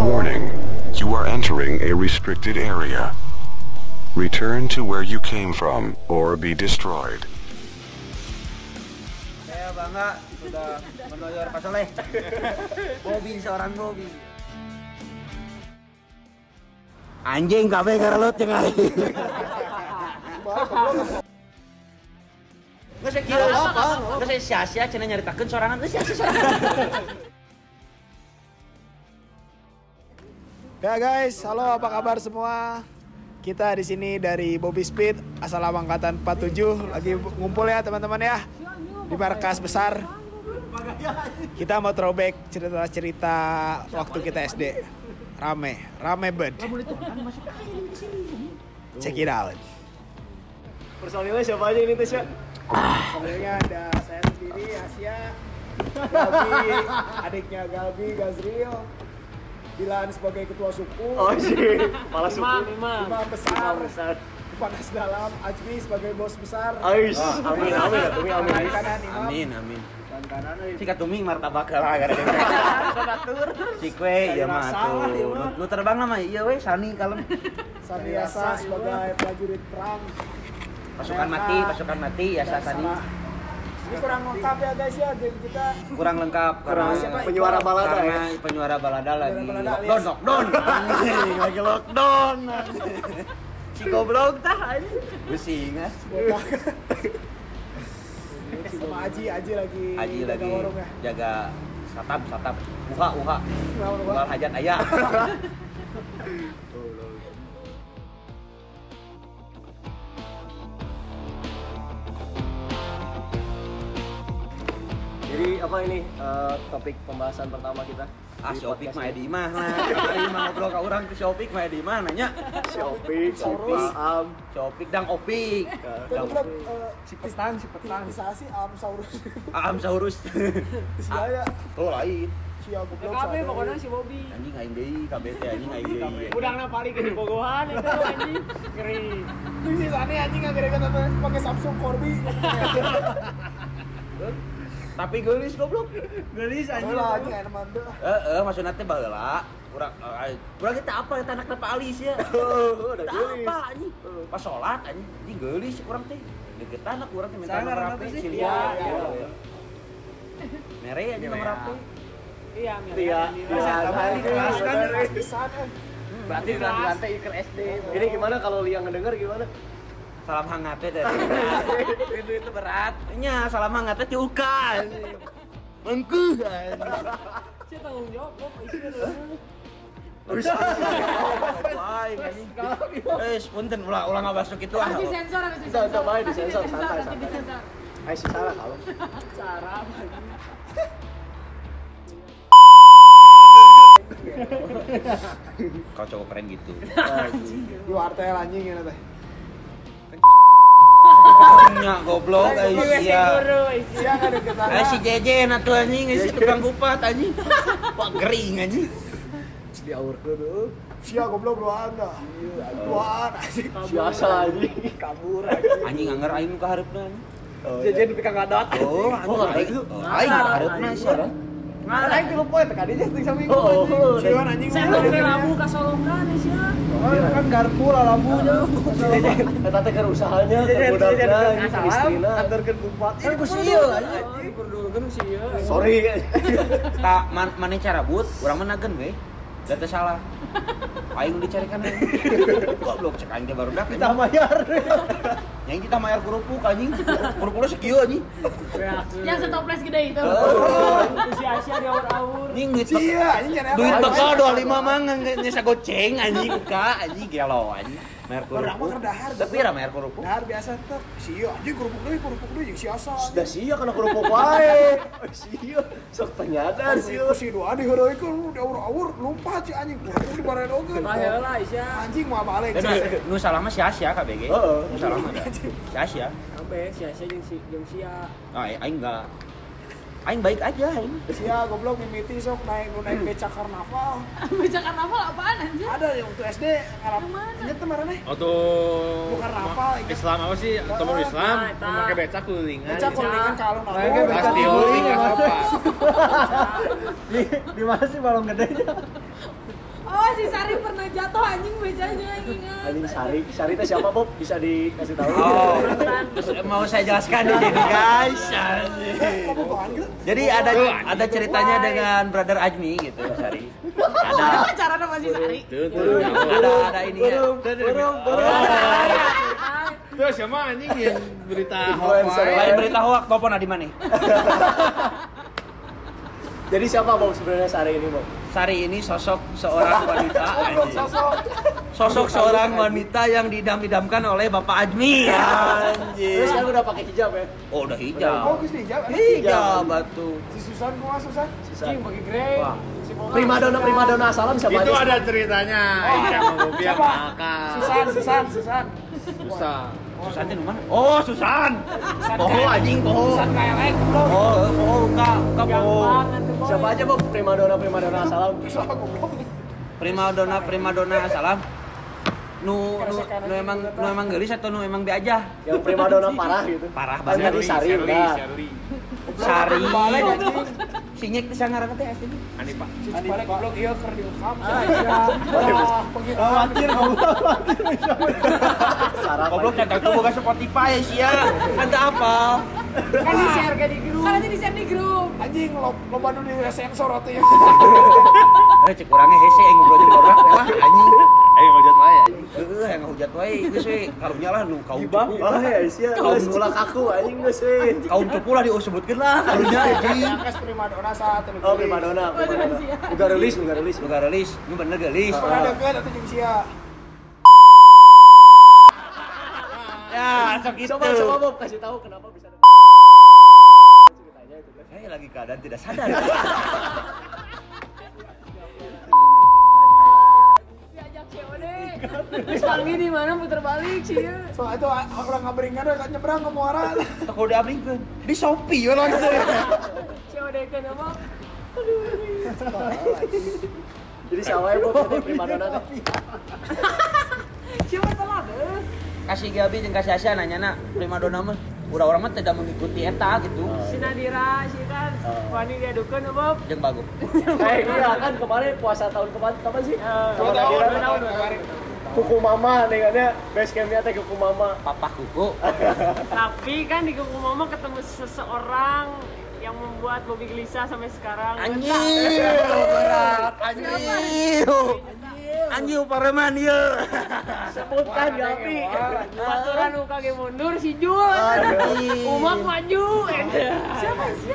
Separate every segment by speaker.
Speaker 1: Warning. You are entering a restricted area. Return to where you came from or be destroyed.
Speaker 2: Saya bangga sudah menoyor Pak Soleh. Bobi seorang Bobi. Anjing kabeh kerlut yang hari. Nggak saya kira apa? Nggak saya sia-sia cina nyaritakan sorangan. Nggak sia-sia sorangan.
Speaker 3: Ya guys, halo apa kabar semua? Kita di sini dari Bobby Speed asal angkatan 47 lagi ngumpul ya teman-teman ya di markas besar. Kita mau throwback cerita-cerita waktu kita SD. Rame, rame banget. Check it out.
Speaker 4: Personilnya siapa aja ini tes ya?
Speaker 3: Sebenarnya ada saya sendiri, Asia, Galbi, adiknya Galbi, Gazril, Dilan sebagai ketua suku,
Speaker 4: Oh sih, kepala suku.
Speaker 3: Imam besar,
Speaker 4: Besar.
Speaker 3: panas dalam, Ajmi sebagai bos besar,
Speaker 4: Ais, amin amin ya, tumi amin.
Speaker 3: Tangan kanan Imam,
Speaker 2: Amin amin.
Speaker 3: tangan kanan
Speaker 2: Si katuming martabak lah gara-gara. Si kue ya mah tuh. Nu- Nu terbang lah mah iya weh Sani kalem.
Speaker 3: Sandiasa sebagai prajurit perang.
Speaker 2: Pasukan mati, pasukan mati ya Sa Sani.
Speaker 3: Sama. Ini kurang lengkap ya guys ya game kita.
Speaker 2: Kurang lengkap karena
Speaker 4: Kurang penyuara balada
Speaker 2: karena
Speaker 4: ya.
Speaker 2: penyuara balada lagi
Speaker 3: Penyuara balada
Speaker 2: lockdown,
Speaker 3: alias-
Speaker 2: lockdown. Anjing, lagi lockdown. anjing. Si goblok tah anjing. Besi ingat.
Speaker 3: Botak. Sama Aji, Aji lagi.
Speaker 2: Haji
Speaker 3: jaga
Speaker 2: lagi
Speaker 3: warung ya.
Speaker 2: jaga satap satap uha uha
Speaker 3: Warung apa?
Speaker 2: jual hajat aya
Speaker 4: Jadi apa ini eh, topik pembahasan pertama kita?
Speaker 2: ah
Speaker 4: Di
Speaker 2: si Opik
Speaker 4: podcast
Speaker 2: mah
Speaker 4: ini.
Speaker 2: di mah lah Ari mah ngobrol ke orang tuh si Opik mah di mana nya
Speaker 4: Si Opik, si
Speaker 3: Sorus.
Speaker 4: Paam.
Speaker 2: si Opik dang Opik
Speaker 4: eh,
Speaker 3: Tapi
Speaker 4: Daud.
Speaker 3: bilang, eh, Tisasi, Am Saurus.
Speaker 2: aam saurus
Speaker 4: Ah.
Speaker 3: Saya
Speaker 2: oh lain
Speaker 3: siapa goblok.
Speaker 5: KB
Speaker 3: siapa
Speaker 5: pokoknya
Speaker 3: goblok.
Speaker 5: si Bobby.
Speaker 2: anjing aing deui kabeh teh anjing aing deui
Speaker 5: Udangnya paling ke bogohan itu anjing. Ngeri.
Speaker 3: Ini si Sani anjing nggak gara-gara nonton pakai Samsung Corby.
Speaker 2: tapi geulis goblok geulis anjing
Speaker 3: Bola anjing enak mantep.
Speaker 2: heeh maksudna teh baheula kurang kurang kita apa kita anak kenapa alis ya
Speaker 4: Oh, udah
Speaker 2: Teu
Speaker 4: geulis.
Speaker 2: apa anjing Oh. pas sholat anjing anjing geulis urang teh degetan lah urang teh minta
Speaker 3: Saya
Speaker 2: nomor
Speaker 3: ngaranna
Speaker 2: HP
Speaker 3: teh sih.
Speaker 2: si
Speaker 3: Iya,
Speaker 2: Lia
Speaker 3: iya,
Speaker 4: iya.
Speaker 2: mere anjing nomor HP
Speaker 5: Iya,
Speaker 4: Iya, iya,
Speaker 3: Tapi kelas kan kelas pisan, eh.
Speaker 4: Berarti di lantai Iker SD. Ini gimana kalau Lia ngedenger gimana?
Speaker 2: salam hangat teh dari itu itu berat nya salam hangat teh diukan mengkuh
Speaker 5: Si tanggung jawab gua isi dulu.
Speaker 2: Eh, punten ulah ulah ngabasuk itu ah.
Speaker 5: Nanti sensor nanti
Speaker 4: Bisa, bisa, baik,
Speaker 5: Nanti
Speaker 4: disensor, santai,
Speaker 5: nanti
Speaker 4: santai.
Speaker 5: disensor.
Speaker 4: Ayo si salah kalau.
Speaker 5: Cara
Speaker 2: Kau cowok keren gitu.
Speaker 3: Di wartel anjing ya teh.
Speaker 2: Nya goblok eh, sia.
Speaker 5: iya, guru isi.
Speaker 3: Siapa deketan?
Speaker 2: Eh si Jejen atuh anjing, eh, si tukang kupat anjing. Wah gering anjing.
Speaker 4: Di aur dulu.
Speaker 3: Siapa goblok doaan dah. Doaan anjing.
Speaker 4: Biasa aja.
Speaker 3: Kabur anjing.
Speaker 2: Anjing anger aing ka hareupna. anjing.
Speaker 4: Jajan pikang ngadat.
Speaker 2: Oh, anjing aing. Oh, Aing ka hareupna sia.
Speaker 4: Ngadat aing tilu poe teh kadinya ting sami. Oh,
Speaker 3: Siapa anjing?
Speaker 5: Saya lu ke labu ka Solongan isi.
Speaker 3: Oh, kan garpu lah lampunya.
Speaker 4: Eta teh keur usahanya, keur budakna, keur istrina.
Speaker 2: Kan ku sieu.
Speaker 5: Berdulukan sih ya.
Speaker 4: Sorry.
Speaker 2: Tak man, mana cara but, orang menagen we. Da teh salah. Aing dicarikan aing. Goblok cek aing teh baru dak.
Speaker 4: Kita bayar.
Speaker 2: Yang kita mayar kerupuk anjing. Kerupuknya sekieu anjing.
Speaker 5: Yang setoples gede itu.
Speaker 2: Oh.
Speaker 5: Si Asia di awur-awur.
Speaker 2: Anjing duit tek-
Speaker 3: Iya, anjing nyari apa?
Speaker 2: Duit
Speaker 3: Anjing.
Speaker 2: teko 25 mang nyesa goceng anjing ka anjing gelo anjing. Mayar
Speaker 3: Orang mah
Speaker 2: kerupuk.
Speaker 3: kerdahar.
Speaker 2: Tapi ra mayar kerupuk.
Speaker 3: Dahar biasa tuh. Sio anjing kerupuk deui, kerupuk deui jeung si asa.
Speaker 4: Sudah sia kena kerupuk wae. Sia, sok penyadar
Speaker 3: Si
Speaker 4: sia.
Speaker 3: si doa di heureuy ku diaur-aur lompat si anjing kerupuk di bareng oge.
Speaker 5: Baheula Asia.
Speaker 3: Anjing mah balik.
Speaker 2: Dan nu salah mah si Asia ka BG.
Speaker 4: Heeh.
Speaker 2: Nu salah mah. Si Asia.
Speaker 5: Sampai si Asia jeung si jeung Sia.
Speaker 2: Ah, aing enggak. eh, aing baik aja aing.
Speaker 3: Sia goblok mimiti sok naik nu naik becak karnaval.
Speaker 5: Baca karnaval apaan anjir?
Speaker 3: Ada yang waktu SD ngarap.
Speaker 5: Yang mana?
Speaker 3: Ini tuh mana nih?
Speaker 6: Oh tuh.
Speaker 3: Bukan rapal, ingat.
Speaker 6: Islam apa sih? Tomor Islam
Speaker 5: Nah, eta.
Speaker 6: memakai becak kuningan.
Speaker 3: Becak kuningan ke
Speaker 4: Naiknya
Speaker 3: alun-alun.
Speaker 4: becak
Speaker 6: Pasti oh,
Speaker 4: Dibeli,
Speaker 6: uling
Speaker 4: Mas.
Speaker 6: apa?
Speaker 4: di, di mana sih balon gedenya?
Speaker 5: Oh si Sari pernah jatuh anjing ya. becanya ingat.
Speaker 4: Anjing Sari, Sari teh siapa Bob? Bisa dikasih tahu?
Speaker 2: Oh, terus mau saya jelaskan ini guys.
Speaker 3: Bobogohan gitu.
Speaker 2: Jadi ada ada ceritanya dengan Brother Ajmi gitu, Sari.
Speaker 5: Ada Oh, pacaran sama si Sari.
Speaker 6: Tuh tuh.
Speaker 2: Ada ada ini ya.
Speaker 4: Burung, burung, burung.
Speaker 6: Tuh siapa anjing yang berita
Speaker 4: Influencer.
Speaker 6: hoax?
Speaker 2: Lain berita hoak telepon Adi mana?
Speaker 4: Jadi siapa Bob sebenarnya Sari ini Bob?
Speaker 2: Sari ini sosok seorang wanita.
Speaker 3: Goblok sosok.
Speaker 2: Sosok seorang wanita yang didam-idamkan oleh Bapak Ajmi. Anjir.
Speaker 4: Terus sekarang udah pakai hijab ya?
Speaker 2: Oh, udah
Speaker 3: Oh,
Speaker 2: hijau.
Speaker 3: geus dijawab.
Speaker 2: Hijau batu.
Speaker 3: Si Susan kumaha Susan?
Speaker 4: Si Susan.
Speaker 3: Cing bagi grey.
Speaker 2: Wah.
Speaker 3: Si Bobo.
Speaker 4: Primadona, primadona asalam siapa
Speaker 6: Itu
Speaker 4: aja?
Speaker 6: ada ceritanya. Iya, mau Bobi yang
Speaker 3: Siapa?
Speaker 6: makan.
Speaker 3: Susan, Susan, Susan.
Speaker 6: Susah.
Speaker 3: Iya.
Speaker 2: Susan teh nu mana? Oh, Susan. Poho anjing poho.
Speaker 3: Susan kaelek goblok.
Speaker 2: Oh, poho ka ka poho.
Speaker 4: Siapa aja Bob? Primadona, primadona asalam.
Speaker 3: Sosok goblok.
Speaker 2: Prima donna, prima donna salam. Nu nu nu emang nu emang geulis atau nu emang be aja?
Speaker 4: Yang primadona parah gitu.
Speaker 2: Parah
Speaker 4: Kan
Speaker 2: banget.
Speaker 4: Tadi Sari udah.
Speaker 2: Sari.
Speaker 3: Balik anjing.
Speaker 2: Sinyek teh sangarana teh asli.
Speaker 6: Ani pak.
Speaker 3: Si balik goblok ieu keur diungkap. Ah, iya. Wah, pergi.
Speaker 4: Ah, Khawatir kamu, khawatir. Sarah.
Speaker 2: Goblok teh tuh boga Spotify sia. Ada apa?
Speaker 3: Kan di share ke di grup.
Speaker 5: Kan nanti di share di grup.
Speaker 3: Anjing lo loba nu di sensor atuh ya.
Speaker 2: Eh cek urangnya hese yang ngobrol jeung orang Wah, anjing.
Speaker 6: Ayo ya. ngajak saya.
Speaker 2: Heeh, yang hujat wae geus we. Karunya lah nu kaum
Speaker 4: Ibah,
Speaker 2: cupu.
Speaker 4: wah oh, ya sih, harus mulak aku anjing geus sih.
Speaker 2: Kaum cupu lah disebutkeun lah karunya anjing.
Speaker 3: Kas primadona sa teu
Speaker 4: Oh, primadona. primadona. Udah rilis, udah rilis.
Speaker 2: Lu garelis, nu bener geulis.
Speaker 3: Pernah deket atau jeung sia?
Speaker 2: Ya, sok itu.
Speaker 4: Coba coba Bob kasih tahu kenapa bisa ada ceritanya itu kan.
Speaker 2: Saya lagi keadaan tidak sadar.
Speaker 5: Diajak COD. Terus pagi di mana putar balik sih.
Speaker 3: So itu a- orang ngabringan udah nyebrang ke muara.
Speaker 2: Toko udah abringkeun. Di Shopee ya langsung.
Speaker 5: COD kan apa?
Speaker 4: Jadi sawai Bob tadi primadona teh.
Speaker 5: Siapa telat? eh?
Speaker 2: Kasih Gabi jeung kasih Asia nanya nak prima donna mah. Udah orang mah tidak mengikuti eta gitu.
Speaker 5: Si Nadira, si kan.
Speaker 4: Oh.
Speaker 5: Wani diadukan apa?
Speaker 2: Jeung bagus.
Speaker 4: Eh, iya kan kemarin puasa tahun kemarin kapan sih?
Speaker 3: Dua tahun,
Speaker 4: Kapan akhirnya?
Speaker 3: dua tahun kemarin.
Speaker 4: Kuku mama dengannya base campnya teh kuku mama.
Speaker 2: Papa kuku.
Speaker 7: Tapi kan di Kuku Momo ketemu seseorang yang membuat Bobby gelisah sampai sekarang.
Speaker 2: Anjir, berat. Anjir. Anjir pareman ieu.
Speaker 4: Sebutkan Gapi.
Speaker 7: Baturan nu kage mundur si Jul. Umak maju. Siapa sih?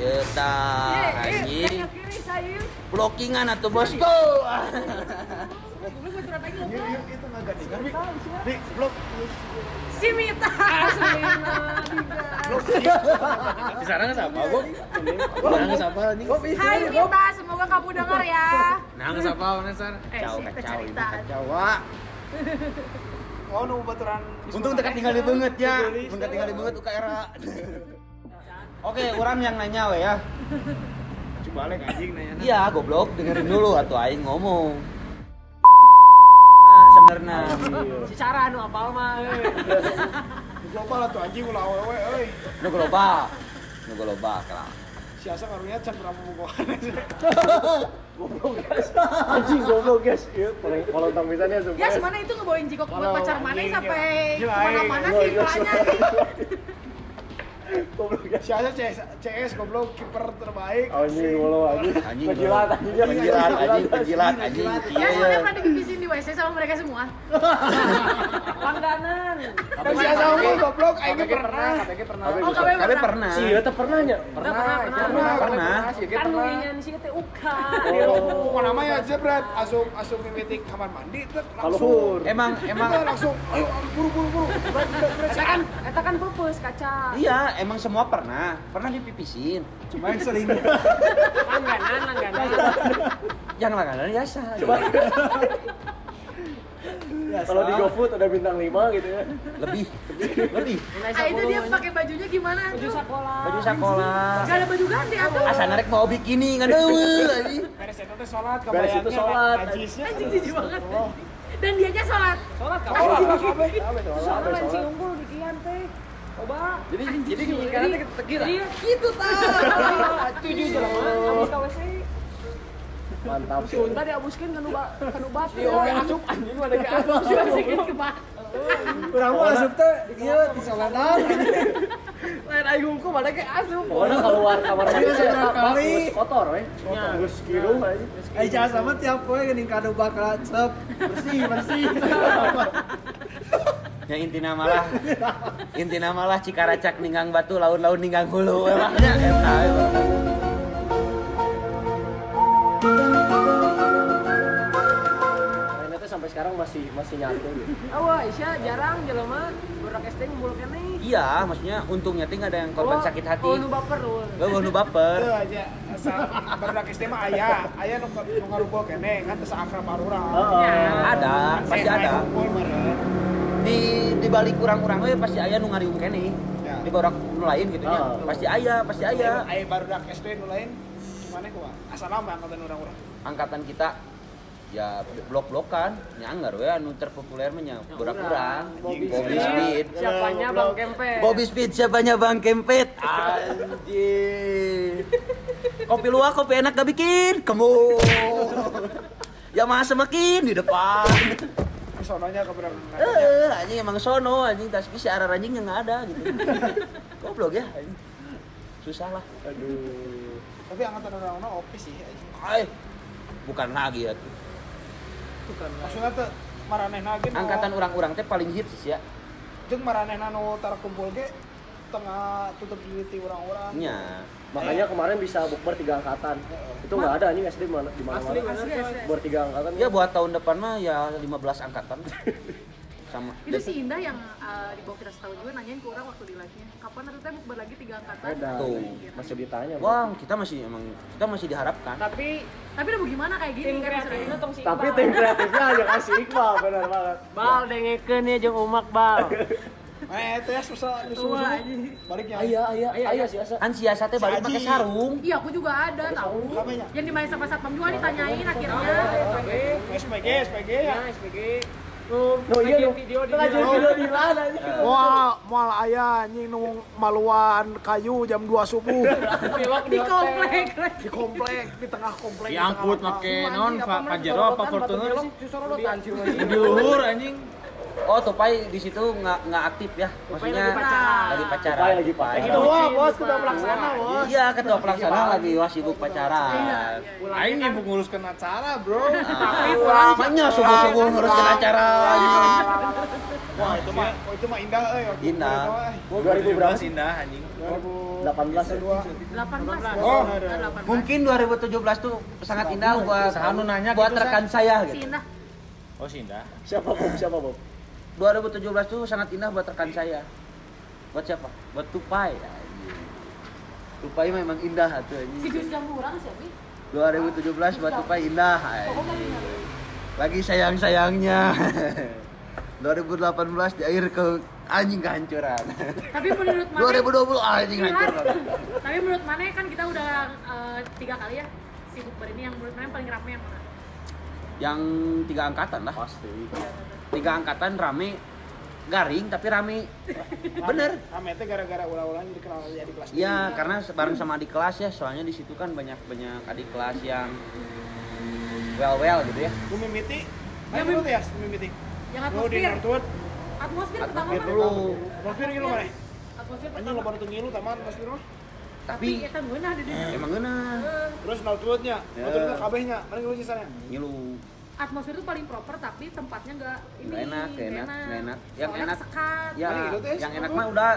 Speaker 2: Ya tah anjir.
Speaker 7: kiri saya.
Speaker 2: Blockingan atuh bosku.
Speaker 7: Si Mita. Si Mita.
Speaker 6: Di sana nggak apa Bob? Nang nggak apa anjing?
Speaker 7: Hai Mita, semoga kamu dengar ya.
Speaker 6: Nang nggak apa Nesar?
Speaker 7: Eh,
Speaker 2: Kacau,
Speaker 7: si Mita
Speaker 2: kacau,
Speaker 7: cerita.
Speaker 6: Jawa.
Speaker 3: Oh nu baturan.
Speaker 6: Untung dekat tinggal di banget ya.
Speaker 2: Bunda tinggal di banget UKR. Oke, orang yang nanya we ya.
Speaker 6: Coba balik anjing nanya.
Speaker 2: Iya, goblok, dengerin dulu atau aing ngomong. Nah, sebenarnya.
Speaker 7: Si Cara nu apal mah. eh.
Speaker 3: Di global atuh anjing ulah awewe euy.
Speaker 2: Nu global. Nu global kalah.
Speaker 3: Siasa ngarunya can pernah bobogohan.
Speaker 4: Goblok guys. Anjing goblok guys. Iya, paling kalau tang pisannya
Speaker 5: Ya
Speaker 4: sumpah.
Speaker 5: semana itu ngebawain jikok buat
Speaker 4: Walau
Speaker 5: pacar mana
Speaker 4: anjing,
Speaker 5: sampai
Speaker 3: ya. Gila,
Speaker 5: kemana-mana
Speaker 4: anjing.
Speaker 5: sih
Speaker 4: Gila,
Speaker 5: iklannya
Speaker 4: gila.
Speaker 5: sih.
Speaker 4: Goblok guys.
Speaker 3: Siasa CS, CS goblok kiper terbaik.
Speaker 6: Oh,
Speaker 4: Anjing goblok anjing.
Speaker 2: Anjing,
Speaker 4: Penjilat
Speaker 2: goblok.
Speaker 4: anjingnya.
Speaker 2: Penjilat anjing, penjilat anjing.
Speaker 5: Ya
Speaker 2: Iya,
Speaker 5: soalnya
Speaker 2: iya.
Speaker 5: pernah dibibisin di WC sama mereka semua.
Speaker 7: Langganan.
Speaker 3: Dan siasa unggul goblok aing ge pernah.
Speaker 5: Oh,
Speaker 4: Penjilat.
Speaker 5: kamu
Speaker 2: Tapi
Speaker 5: pernah.
Speaker 2: pernah.
Speaker 4: Si Yota pernah nya?
Speaker 7: Udah pernah, pernah.
Speaker 3: Pernah,
Speaker 2: Pernah.
Speaker 3: Si Ge
Speaker 7: Kan
Speaker 3: pernah.
Speaker 7: nulinya si teh uka.
Speaker 4: Oh.
Speaker 3: Pokoknya namanya ya, jebret, asup asup mimiti kamar mandi, tek, langsung.
Speaker 4: Kaluhur.
Speaker 2: Emang emang
Speaker 3: Kita langsung, ayo buru buru buru. Jebret, jebret, jebret.
Speaker 7: Eta kan, eta kan pupus kaca.
Speaker 2: iya, emang semua pernah. Pernah dipipisin.
Speaker 3: Cuma yang sering.
Speaker 7: Langganan, langganan.
Speaker 2: Yang langganan biasa.
Speaker 4: Ya Kalau di GoFood ada bintang 5 gitu ya.
Speaker 2: lebih lebih
Speaker 5: Ah itu dia pakai bajunya gimana
Speaker 7: Baju
Speaker 5: tuh?
Speaker 7: sekolah.
Speaker 2: baju sekolah
Speaker 5: Gak ada baju ganti atuh.
Speaker 2: asa narek mau bikini ngadeul
Speaker 6: Beres itu teh sholat,
Speaker 4: Beres itu
Speaker 6: kebayangnya
Speaker 4: sholat.
Speaker 6: najisnya.
Speaker 5: Anjing jijik banget. Dan dianya sholat.
Speaker 7: Sholat kau.
Speaker 4: Sholat lah kabeh. Kabeh
Speaker 7: Itu
Speaker 4: sholat,
Speaker 7: sholat
Speaker 4: kabeh
Speaker 7: lain si
Speaker 4: sholat.
Speaker 7: unggul di kian teh. Coba.
Speaker 4: Jadi jadi
Speaker 7: Karena teh ketekira. Iya, gitu tah. Tujuh jalan. Habis ka WC.
Speaker 4: mantap
Speaker 7: Si
Speaker 4: sih.
Speaker 7: unta diabuskeun kana ubat, kana ubat.
Speaker 6: Di oge asup anjing mana ke asup.
Speaker 7: Si basikeun ke bawah.
Speaker 4: Urang mah asup teh
Speaker 8: iya,
Speaker 4: ieu di
Speaker 7: Lain aing hukum ada ke asup.
Speaker 4: Pokoknya keluar kamar mandi
Speaker 8: Iya,
Speaker 4: saya
Speaker 8: sama kali.
Speaker 4: kotor we.
Speaker 7: Iya.
Speaker 4: Terus kidung aja.
Speaker 8: Eh jangan sama tiap poe geuning kado bakal cep bersih bersih.
Speaker 2: ya intina malah intina malah cikaracak ninggang batu laun-laun ninggang hulu emangnya eta emang.
Speaker 4: Mainnya teh sampai sekarang masih masih nyatu gitu.
Speaker 7: Awah, Isya jarang jelema budak SD ngumpul keneh.
Speaker 2: iya maksudnya untungnya teh nggak ada yang korban sakit hati
Speaker 7: Oh, nu baper lu.
Speaker 2: gak nu baper
Speaker 3: Itu aja asal barudak SD mah ayah, ayah nu nu ngarumpul kene kan teu akrab arurang.
Speaker 2: ada pasti
Speaker 3: Saya
Speaker 2: ada
Speaker 3: ngumpul meureun.
Speaker 2: di di balik kurang-kurang we pasti aya nu ngariung kene
Speaker 3: Ya.
Speaker 2: di borak nu lain gitu nya
Speaker 4: Oh.
Speaker 2: pasti aya pasti aya
Speaker 3: Ayah barudak SD nu lain gimana kumaha? Asal lama angkatan urang-urang.
Speaker 2: angkatan kita ya blok-blokan nyanggar we anu terpopuler mah nya borak-urang
Speaker 7: Bobby
Speaker 2: Bobby Speed
Speaker 5: Ya.
Speaker 7: Siapanya Bang Kempe?
Speaker 2: Bobby Speed siapanya Bang Kempet anjing kopi luwak kopi enak gak bikin kamu ya masa makin di depan
Speaker 3: Sononya ke berang.
Speaker 2: eh anjing emang sono anjing tas bisa arah anjing yang nggak ada gitu goblok ya anjing. susah lah
Speaker 4: Aduh.
Speaker 3: Tapi angkatan urang-urang oke sih. anjing.
Speaker 2: Ay, bukan lagi ya tuh.
Speaker 3: Maksudna teh maranehna ge nu-
Speaker 2: angkatan orang-orang teh paling hits ya
Speaker 3: jeung maranehna nu tarkumpul ge tengah tutup diri ti urang-urang.
Speaker 2: nya
Speaker 4: Makanya kemarin bisa bukber tiga angkatan. Itu nggak ada anjing SD di mana di mana. Bukber tiga angkatan.
Speaker 2: ya buat tahun depan mah ya 15 angkatan sama
Speaker 5: Itu si Indah yang eh, di bawah kita setahun juga nanyain ke orang waktu di live-nya. Kapan nanti teh bukber lagi tiga angkatan?
Speaker 4: Ada.
Speaker 2: Tuh.
Speaker 4: Masih ditanya. Bu.
Speaker 2: wah kita masih emang kita masih diharapkan
Speaker 7: Tapi
Speaker 5: Tapi udah bagaimana kayak gini
Speaker 7: tim
Speaker 5: kan
Speaker 7: kreatifnya
Speaker 5: misalnya.
Speaker 7: tong si
Speaker 4: Tapi
Speaker 7: Iqbal.
Speaker 4: tim kreatifnya hanya kasih Iqbal benar banget.
Speaker 7: Bal dengekeun ya jeung umak bal.
Speaker 3: Eh, teh susah disuruh. Balik ya.
Speaker 4: Ayah, ayah, ayah sih asa.
Speaker 2: kan siasa teh balik pakai sarung
Speaker 5: Iya, aku juga ada tahu.
Speaker 3: Kamenya.
Speaker 5: Yang dimain sama satpam juga ditanyain akhirnya.
Speaker 7: SPG,
Speaker 3: SPG, SPG ya.
Speaker 7: ya SPG. Nu
Speaker 4: No iya
Speaker 7: video
Speaker 4: no.
Speaker 7: video di
Speaker 4: Nggak jadi video di mana anjing.
Speaker 3: Ya. Wah, moal ayah anjing nu maluan kayu jam 2 subuh
Speaker 7: Bewak
Speaker 5: Di komplek.
Speaker 3: di komplek, di tengah komplek. di
Speaker 6: Diangkut
Speaker 3: tengah lapang.
Speaker 6: make non Pak Pajero apa Fortuner sih? Di luhur anjing.
Speaker 2: oh tupai di situ nggak nggak aktif ya maksudnya
Speaker 7: lagi pacaran.
Speaker 2: lagi pacaran
Speaker 4: Tupai lagi pacaran.
Speaker 2: Tupai.
Speaker 3: Ketua, bos, ketua pelaksana, bos.
Speaker 2: iya ketua pelaksana lagi wah sibuk
Speaker 6: Iya.
Speaker 2: pacaran Nah,
Speaker 6: Aing yang menguruskan acara, Bro.
Speaker 2: tapi lamanya subuh subuh ngurusin acara gitu
Speaker 3: Wah, itu mah, oh, itu mah indah, eh. waktu itu
Speaker 2: Indah.
Speaker 3: mah, eh.
Speaker 4: 2000 berapa sih?
Speaker 6: indah anjing.
Speaker 4: 18 ya.
Speaker 5: 18.
Speaker 6: Oh,
Speaker 5: Ada 18.
Speaker 2: mungkin 2017 tuh sangat indah buat
Speaker 6: Sahanu nanya
Speaker 2: buat
Speaker 6: gitu, San.
Speaker 2: rekan saya
Speaker 5: Si
Speaker 2: gitu
Speaker 5: Indah.
Speaker 6: Oh, si indah.
Speaker 4: Siapa Bob? Siapa Bob?
Speaker 2: 2017 tuh sangat indah buat rekan saya. Buat siapa? Buat Tupai. Tupai memang indah tuh
Speaker 5: Si Jun
Speaker 2: anjing.
Speaker 5: Jambu orang siapa?
Speaker 2: 2017 buat Tupai indah. anjing. Lagi sayang-sayangnya. 2018 di akhir ke anjing kehancuran.
Speaker 5: Tapi menurut Mane
Speaker 2: 2020 anjing
Speaker 5: Iya.
Speaker 2: hancur. banget.
Speaker 5: Tapi menurut Mane kan kita udah eh, tiga kali ya si bukber ini yang menurut Mane paling rame yang mana?
Speaker 2: Yang tiga angkatan lah.
Speaker 4: Pasti.
Speaker 2: Tiga angkatan rame garing tapi rame. Bener.
Speaker 3: Rame teh gara-gara ulah-ulah jadi kenal jadi kelas.
Speaker 2: Iya, karena bareng sama adik kelas ya, soalnya di situ kan banyak-banyak adik kelas yang well-well gitu ya.
Speaker 3: Lu mimiti? Ya, mimiti ya, mimiti.
Speaker 5: Yang
Speaker 3: Lu di
Speaker 5: atmosfer.
Speaker 3: Northwood,
Speaker 5: Atmosfer pertama
Speaker 2: Atmosfer
Speaker 5: kan?
Speaker 2: dulu.
Speaker 3: Rafir gitu mana?
Speaker 5: Atmosfer
Speaker 3: Anjing
Speaker 5: pertama.
Speaker 3: lo baru tinggi lu taman pas di rumah.
Speaker 5: Tapi
Speaker 2: Tapi Eh.
Speaker 5: kita ngeunah di dieu.
Speaker 2: emang enak.
Speaker 3: Terus Northwoodnya,
Speaker 2: Ya.
Speaker 3: Northwoodnya kabehnya, mana lu sisanya?
Speaker 2: Ngilu.
Speaker 5: Atmosfer itu paling proper tapi tempatnya nggak ini.
Speaker 2: Nggak enak, nggak enak, nggak enak. Yang
Speaker 5: Soalnya
Speaker 2: enak-
Speaker 5: kesekat.
Speaker 2: Ya,
Speaker 3: Paling itu teh,
Speaker 2: yang enak
Speaker 3: itu.
Speaker 2: mah udah